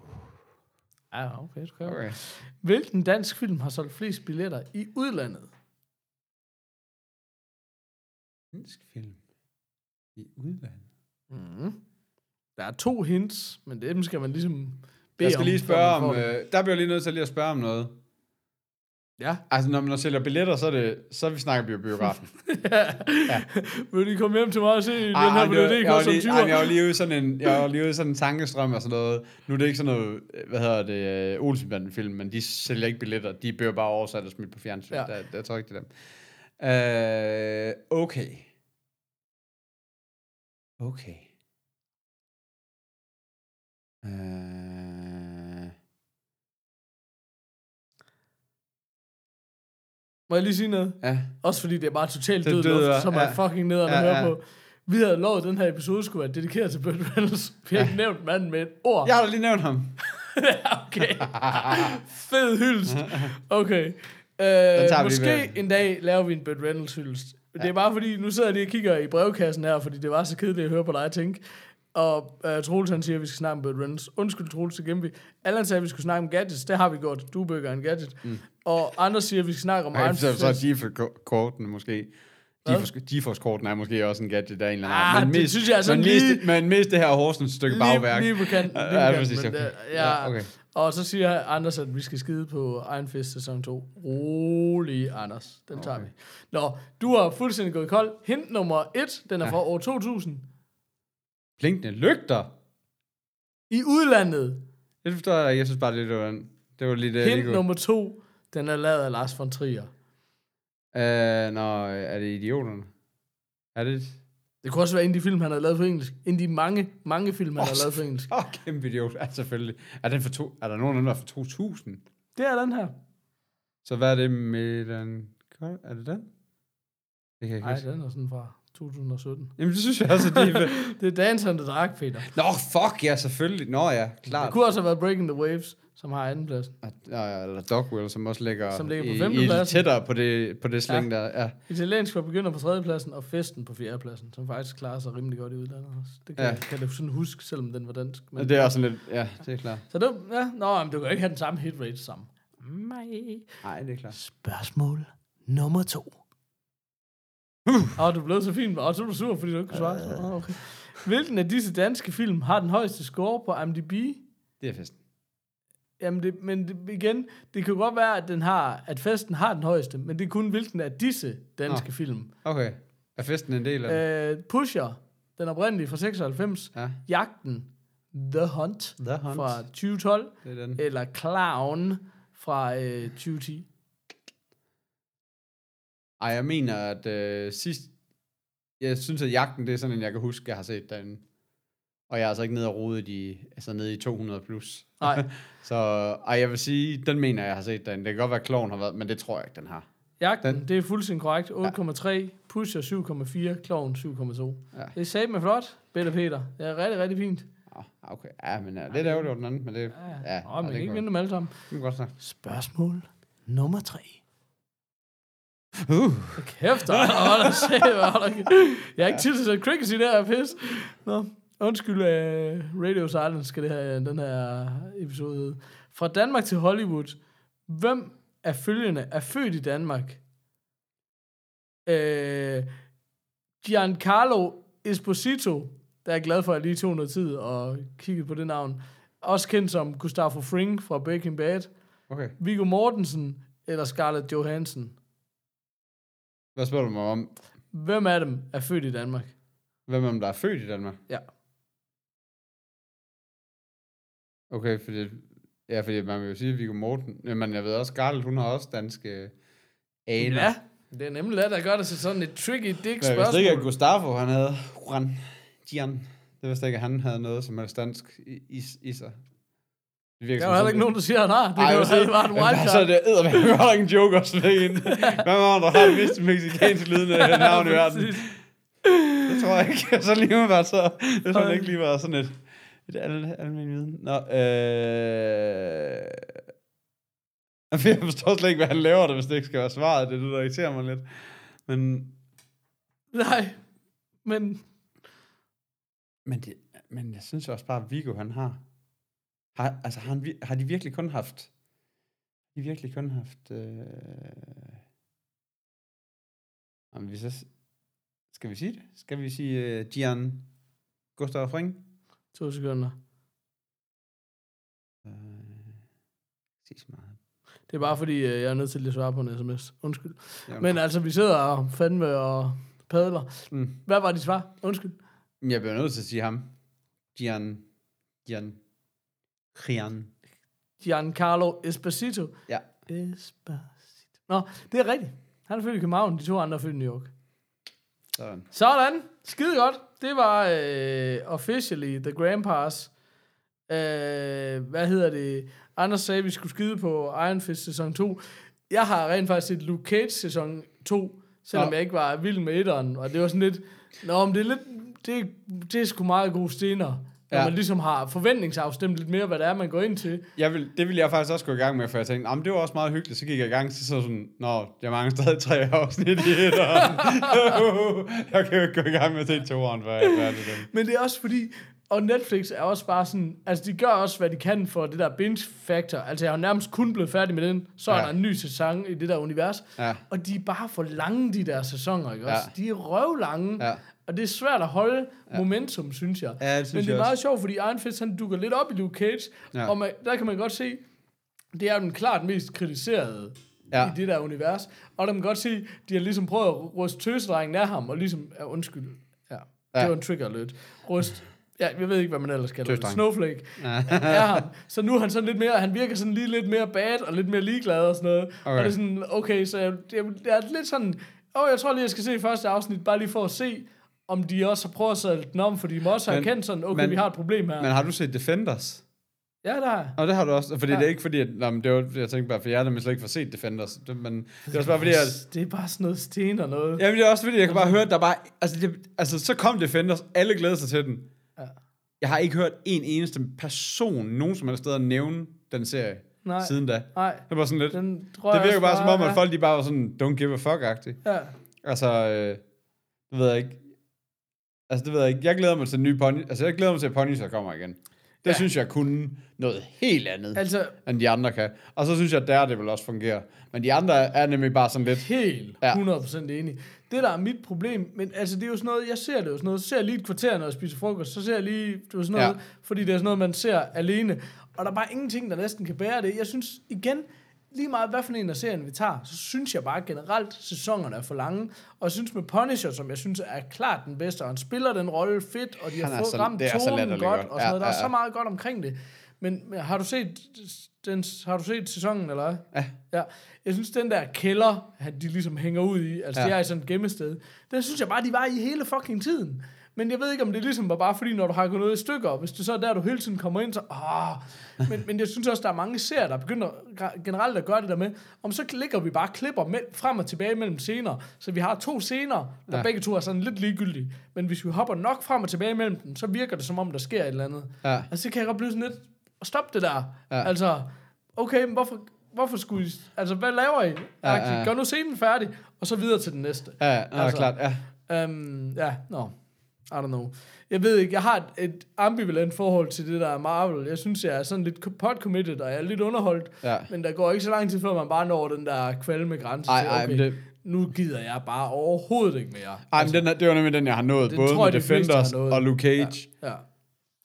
Ah, okay, du kan okay. Okay. Hvilken dansk film har solgt flest billetter i udlandet? Dansk film i udlandet. Mm-hmm. Mm. Der er to hints, men dem skal man ligesom bede Jeg skal om, lige før spørge man om... får dem. Øh, der bliver jeg lige nødt til lige at spørge om noget. Ja. Altså, når man sælger billetter, så er det... Så vi snakker vi jo biografen. Vil de komme hjem til mig og se den her Ej, ej, det var- DVD ah, jeg var koster lige- 20 ej, men Jeg var lige ude i sådan en, jeg var lige ude i sådan en tankestrøm og sådan noget. Nu er det ikke sådan noget, øh, hvad hedder det, uh, Olsenbanden film, men de sælger ikke billetter. De bliver bare oversat og smidt på fjernsyn. Ja. Ja. Der, der tror jeg ikke, det er dem. Uh, okay. Okay. Uh, Må jeg lige sige noget? ja. Også fordi det er bare totalt Det død døder, luft, som er ja. fucking nederen at Ja, høre ja. på. Vi havde lovet, at den her episode skulle være dedikeret til Burt Reynolds. Vi har ikke nævnt manden med et ord. Jeg har da lige nævnt ham. Ja, okay. Fed hyldest. Okay. vi lige Øh, måske med. en dag laver vi en Burt Reynolds hyldest. Det er bare fordi, nu sidder jeg lige og kigger i brevkassen her, fordi det var så kedeligt at høre på dig tænke. Og øh, Troels han siger, at vi skal snakke om Burt Reynolds. Undskyld Troels, det gemte vi. Allan sagde, at vi skulle snakke om gadgets. Det har vi gjort. Du bygger en gadget. Mm. Og andre siger, at vi skal snakke om Nej, Iron så, så er Fist. GeForce-korten måske. GeForce- GeForce-korten er måske også en gadget af en eller anden Ah, art, men det mest- synes jeg er sådan men mest- lige- Men mest det her Horsens stykke bagværk. Lige, lige på kanten. Lige på Ja, kanten, præcis, men, okay. øh, Ja, Ja, okay. Og så siger Anders, at vi skal skide på Iron Fist sæson 2. Rolig, Anders. Den tager vi. Nå, du har fuldstændig gået kold. Hint nummer 1, den er fra år 2000. Blinkende lygter. I udlandet. Det forstår jeg, jeg synes bare, det var en... Det var øh, lige det, jeg lige Hint kunne... nummer 2, den er lavet af Lars von Trier. Øh, nå, er det idioterne? Er det... Det kunne også være en af de film, han har lavet på engelsk. En af de mange, mange film, han oh, har lavet på engelsk. Åh, oh, kæmpe idiot. Ja, selvfølgelig. Er, den for to... er der nogen af dem, der er fra 2000? Det er den her. Så hvad er det med den... Er det den? Det kan jeg ikke Nej, huske. den er sådan fra 2017. Jamen, det synes jeg også, at det er... Det er Dance on the Dark, Peter. Nå, fuck ja, selvfølgelig. Nå ja, klart. Det kunne også have været Breaking the Waves, som har andenpladsen. At- Nå ja, eller Dogwell, som også ligger, Som ligger på i- i, femtepladsen. tættere på det, på det sling ja. der. Ja. Italiensk var begynder på tredjepladsen, og festen på fjerdepladsen, som faktisk klarer sig rimelig godt i udlandet også. Det kan, Ja. ja. kan du sådan huske, selvom den var dansk. Men... Men det er også sådan lidt, ja, det er klart. Så det, ja, nå, men du kan jo ikke have den samme hit rate sammen. Nej. Nej, det er klart. Spørgsmål nummer to. Åh, du blev så fin, og så er du sur, fordi du ikke kunne svare. Åh, okay. Hvilken af disse danske film har den højeste score på IMDb? Det er festen. Jamen, det, men det, igen, det kan godt være, at, den har, at festen har den højeste, men det er kun hvilken af disse danske film. Okay. Er festen en del af det? Øh, Pusher, den oprindelige fra 96. Ja. Jagten, The Hunt, The Hunt. fra 2012. Det er den. Eller Clown fra øh, 2010. Ej, jeg mener, at øh, sidst... Jeg synes, at jagten, det er sådan en, jeg kan huske, jeg har set derinde. Og jeg er altså ikke nede og rodet i, altså nede i 200 plus. Nej. Så ej, jeg vil sige, den mener jeg, jeg har set derinde. Det kan godt være, at kloven har været, men det tror jeg ikke, den har. Jagten, Den- det er fuldstændig korrekt. 8,3. Pusher 7,4. Clown 7,2. Ja. Ja. Det sagde mig flot, Peter Peter. Det er rigtig, rigtig fint. Oh, okay. Ja, men ja, lidt ærgerligt over den anden, men det... Ja, ja. ja, Nå, man kan det kan ikke godt- vinde dem alle sammen. det kan godt snakke. Spørgsmål nummer 3. Uh. Kæft, ej, hold da se, hold da kæ- Jeg har ikke tid til at sætte crickets i det her pis. Nå, undskyld, uh, Radio Silence skal det her, den her episode hedde. Fra Danmark til Hollywood. Hvem af følgende er født i Danmark? Uh, Giancarlo Esposito, der er jeg glad for, at jeg lige tog noget tid og kiggede på det navn. Også kendt som Gustavo Fring fra Breaking Bad. Okay. Viggo Mortensen eller Scarlett Johansson. Hvad spørger du mig om? Hvem af dem er født i Danmark? Hvem af dem, der er født i Danmark? Ja. Okay, fordi, ja, fordi man vil jo sige, at Viggo Morten... ja, Men jeg ved også, Scarlett, hun har også danske øh, aner. Ja, det er nemlig let at gøre det til sådan et tricky dick Men jeg vidste ikke, at spørgsmål. Gustavo, han havde... Juan, Gian. Det vidste jeg ikke, at han havde noget som helst dansk i, i, i sig. Det virker Der er jo heller ikke nogen, der siger, at han har. Det Ej, kan jo jeg have været en Jamen, så er wildcard. det eddermame godt nok en joke også ved en. Hvem er der har det mest mexikanske lydende navn i verden? Præcis. Det tror jeg ikke. Så lige med så... Det tror jeg ikke lige var sådan et... Et al- almen viden. Nå, øh... Jeg forstår slet ikke, hvad han laver det, hvis det ikke skal være svaret. Det er det, der irriterer mig lidt. Men, Nej, men men, det, men jeg synes også bare, at Vigo, han har... har altså, har, han, vir- har de virkelig kun haft... De virkelig kun haft... Øh... Jamen, vi så... s- Skal vi sige det? Skal vi sige uh, Gian Gustav Fring? to sekunder. Øh, Sig så meget. Det er bare fordi, øh, jeg er nødt til lige at svare på en sms. Undskyld. Ja. Men altså, vi sidder og fandme og padler. Mm. Hvad var dit svar? Undskyld. Men Jeg bliver nødt til at sige ham. Gian. Gian. Gian. Giancarlo Esposito. Ja. Esposito. Nå, det er rigtigt. Han er født i København, de to andre er født i New York. Sådan. Sådan. Skide godt. Det var øh, officially The Grandpas. Øh, hvad hedder det? Anders sagde, at vi skulle skide på Iron Fist sæson 2. Jeg har rent faktisk set Luke Cage sæson 2, selvom Nå. jeg ikke var vild med etteren, og det var sådan lidt... Nå, men det er lidt... Det, det er sgu meget gode scener. Når Ja. ja. man ligesom har forventningsafstemt lidt mere, hvad det er, man går ind til. Jeg vil, det ville jeg faktisk også gå i gang med, for jeg tænkte, "Nå, men det var også meget hyggeligt. Så gik jeg i gang, så så sådan, nå, jeg mangler stadig tre afsnit i etteren. jeg kan jo ikke gå i gang med at se toeren, før jeg er færdig med dem. Men det er også fordi, og Netflix er også bare sådan, altså de gør også, hvad de kan for det der binge factor. Altså jeg er jo nærmest kun blevet færdig med den, så er Ja. der en ny sæson i det der univers. Ja. Og de er bare for lange, de der sæsoner, ikke også? Ja. De er røvlange. Ja. Og det er svært at holde momentum, synes jeg. Ja, det synes Men det jeg er meget også. sjovt, fordi Iron Fist, han dukker lidt op i Luke Cage, Ja. ja. og man, der kan man godt se, det er jo den klart mest kritiserede Ja. ja. i det der univers. Og der kan man godt se, de har ligesom prøvet at ryste tøsedrengen af ham, og ligesom, ja, undskyld, ja, ja. Ja. det var en trigger alert. Ryst, ja, jeg ved ikke, hvad man ellers kalder det. Tøsedreng. Snowflake af ham. Så nu er han sådan lidt mere, han virker sådan lige lidt mere bad, og lidt mere ligeglad og sådan noget. Okay. Og Okay. det er sådan, okay, så jeg, jeg, jeg er lidt sådan, åh, oh, jeg tror lige, jeg skal se første afsnit, bare lige for at se, om de også har prøvet at sætte den om, fordi de må også har Men- erkendt sådan, okay, men- men, vi har et problem her. Men Men, har du set Defenders? ja, der er. Nå, det har du også. Fordi ja. Ja. det er ikke fordi, at, nå, men det var, jeg tænkte bare, for jeg har nemlig slet ikke fået set Defenders. Det, men det er også bare fordi, at, Det er bare sådan noget sten og noget. Jamen, det er også fordi, jeg kan bare høre, at der bare... Altså, det, altså så kom Defenders, alle glæder sig til den. Ja. Ja. Jeg har ikke hørt en eneste person, nogen som helst steder, nævne den serie Nej. Nej. siden da. Nej, Det var sådan lidt... Den den tror det jeg virker også bare som om, ja. at folk de bare var sådan, don't give a fuck-agtig. Ja. Altså, øh, det ved jeg ikke. Altså, det ved jeg ikke. Jeg glæder mig til den nye pony. Altså, jeg glæder mig til, at Punisher kommer igen. Det ja. Ja. synes jeg kunne noget helt andet, altså, Altså, end de andre kan. Og så synes jeg, at Daredevil også fungerer. Men de andre er nemlig bare sådan lidt... helt Ja. ja. 100% enig. Det, der er mit problem, men altså, det er jo sådan noget, jeg ser det jo sådan noget, så ser jeg lige et kvarter, når jeg spiser frokost, så ser jeg lige, du ved, sådan Ja. noget, ja. fordi det er sådan noget, man ser alene, og der er bare ingenting, der næsten kan bære det. Jeg synes, igen, lige meget hvad for en af serien vi tager, så synes jeg bare generelt, sæsonerne er for lange, og jeg synes med Punisher, som jeg synes er klart den bedste, og han spiller den rolle fedt, og de har Han er fået så- ramt det er så tonen godt, latterligt og godt. sådan Ja, noget. Der ja, er ja. så meget godt omkring det. Men, men har du set den, har du set sæsonen, eller hvad? Ja. ja. Jeg synes, den der kælder, han, de ligesom hænger ud i, altså Ja. ja. det er i sådan et gemmested, den synes jeg bare, de var i hele fucking tiden. Men jeg ved ikke, om det ligesom var bare fordi, når du har gået noget i stykker, og hvis det så er der, du hele tiden kommer ind, så... Åh. Men, men jeg synes også, der er mange serier, der begynder gra- generelt at gøre det der med, om så ligger vi bare klipper med, frem og tilbage mellem scener, så vi har to scener, der Ja. ja. begge to er sådan lidt ligegyldige. Men hvis vi hopper nok frem og tilbage mellem dem, så virker det som om, der sker et eller andet. Ja. Altså, det kan jeg godt blive sådan lidt, og stop det der. Ja. Ja. Altså, okay, men hvorfor, hvorfor skulle I, altså, hvad laver I? Ja, Ja, ja, ja. ja. Gør nu scenen færdig, og så videre til den næste. Ja, ja, altså, Altså, klart. Ja. Um, ja, no. I don't know. Jeg ved ikke, jeg har et, et ambivalent forhold til det der er Marvel. Jeg synes, jeg er sådan lidt pot-committed, og jeg er lidt underholdt. Ja. Men der går ikke så lang tid, før man bare når den der kvalme grænse Ej, til, ej, men det- nu gider jeg bare overhovedet ikke mere. Ej, men den her, det var nemlig den, jeg har nået. Den Både Altså, tror tror, med jeg, de fleste Defenders har nået. og Luke Cage. Ja. Ja.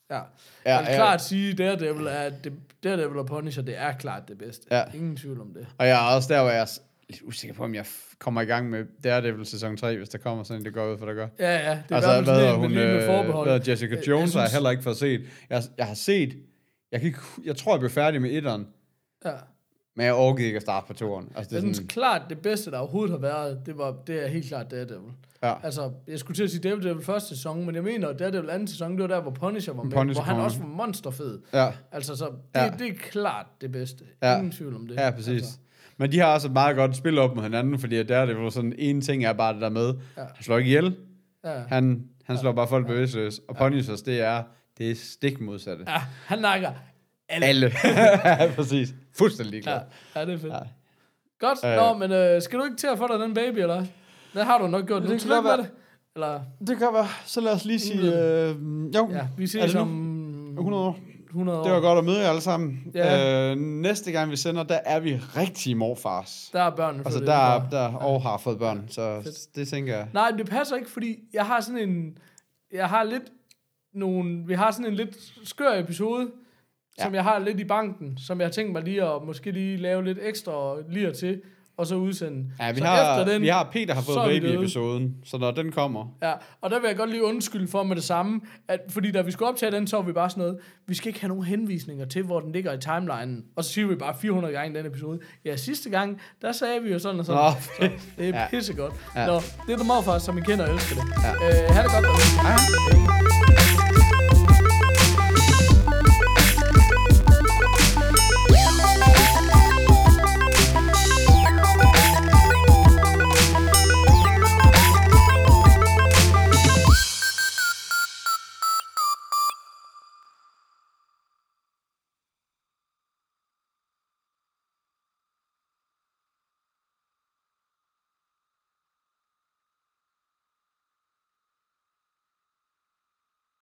ja. Ja, ja jeg ja. vil klart sige, Daredevil, er, det, Daredevil og Punisher, det er klart det bedste. Ja. Ingen tvivl om det. Og jeg er også der, hvor jeg er s- lidt usikker på, om jeg f- kommer i gang med Daredevil sæson 3, hvis der kommer sådan, en, det går ud for, der gør. Ja, ja. Det er altså, hvad hedder hun? lige med øh, forbehold. Hvad hedder Jessica Jeg- jeg Jones har jeg synes- heller ikke fået set. Jeg, jeg har set... Jeg, kan ikke, hu- jeg tror, jeg blev færdig med etteren, Ja. men jeg overgik ikke at starte på toeren. Altså, Jeg det er synes sådan, klart, det bedste, der overhovedet har været, det, var, det er helt klart Daredevil. ja. Altså, jeg skulle til at sige Daredevil første sæson, men jeg mener, at Daredevil anden sæson, det var der, hvor Punisher var med, Punisher hvor han kommer. også var monsterfed. Ja. Altså, så det, Ja. ja. det er klart det bedste. Ja. Ja. Ingen tvivl om det. Ja, præcis. Altså, Men de har også et meget godt spil op med hinanden, fordi at der er det jo sådan, en ting er bare det der med, ja. Ja. han slår ikke ihjel, ja. han, han slår bare folk bevidstløs, og Punishers, det er, det er stik modsatte. ja, han nakker alle. Alle. ja, præcis. Fuldstændig Ja. klar. ja, det er fedt. Ja. Ja. Godt, Øh. øh. nå, men øh, skal du ikke til at få dig den baby, eller? hvad? Det har du nok gjort. Det Det, kan det kan godt med det. Eller, Det kan være. Så lad os lige sige... Øh, jo, ja, vi er ses det nu? om 100 år. 100 år. Det var godt at møde jer alle sammen. Ja. Øh, næste gang vi sender, der er vi rigtige morfars. Der er børnene Altså, flyttet der, hjemmefra. er- der og har fået børn, så det tænker jeg. Nej, men det passer ikke, fordi jeg har sådan en... Jeg har lidt nogle... Vi har sådan en lidt skør episode, ja. som jeg har lidt i banken, som jeg har tænkt mig lige at måske lige lave lidt ekstra lige til, og så udsende. Ja, vi så har, efter den, vi har Peter har fået så er vi døde. baby-episoden, så når den kommer... Ja, og der vil jeg godt lige undskylde for med det samme, at, fordi da vi skulle optage den, så var vi bare sådan noget, vi skal ikke have nogen henvisninger til, hvor den ligger i timelinen, og så siger vi bare 400 gange i den episode. Ja, sidste gang, der sagde vi jo sådan og sådan. Nå, så det er Ja. ja. pissegodt. Ja. Ja. Nå, det er The Morfar, som I kender og elsker det. Ja. Ja. Øh, ha' det godt derude. Hej.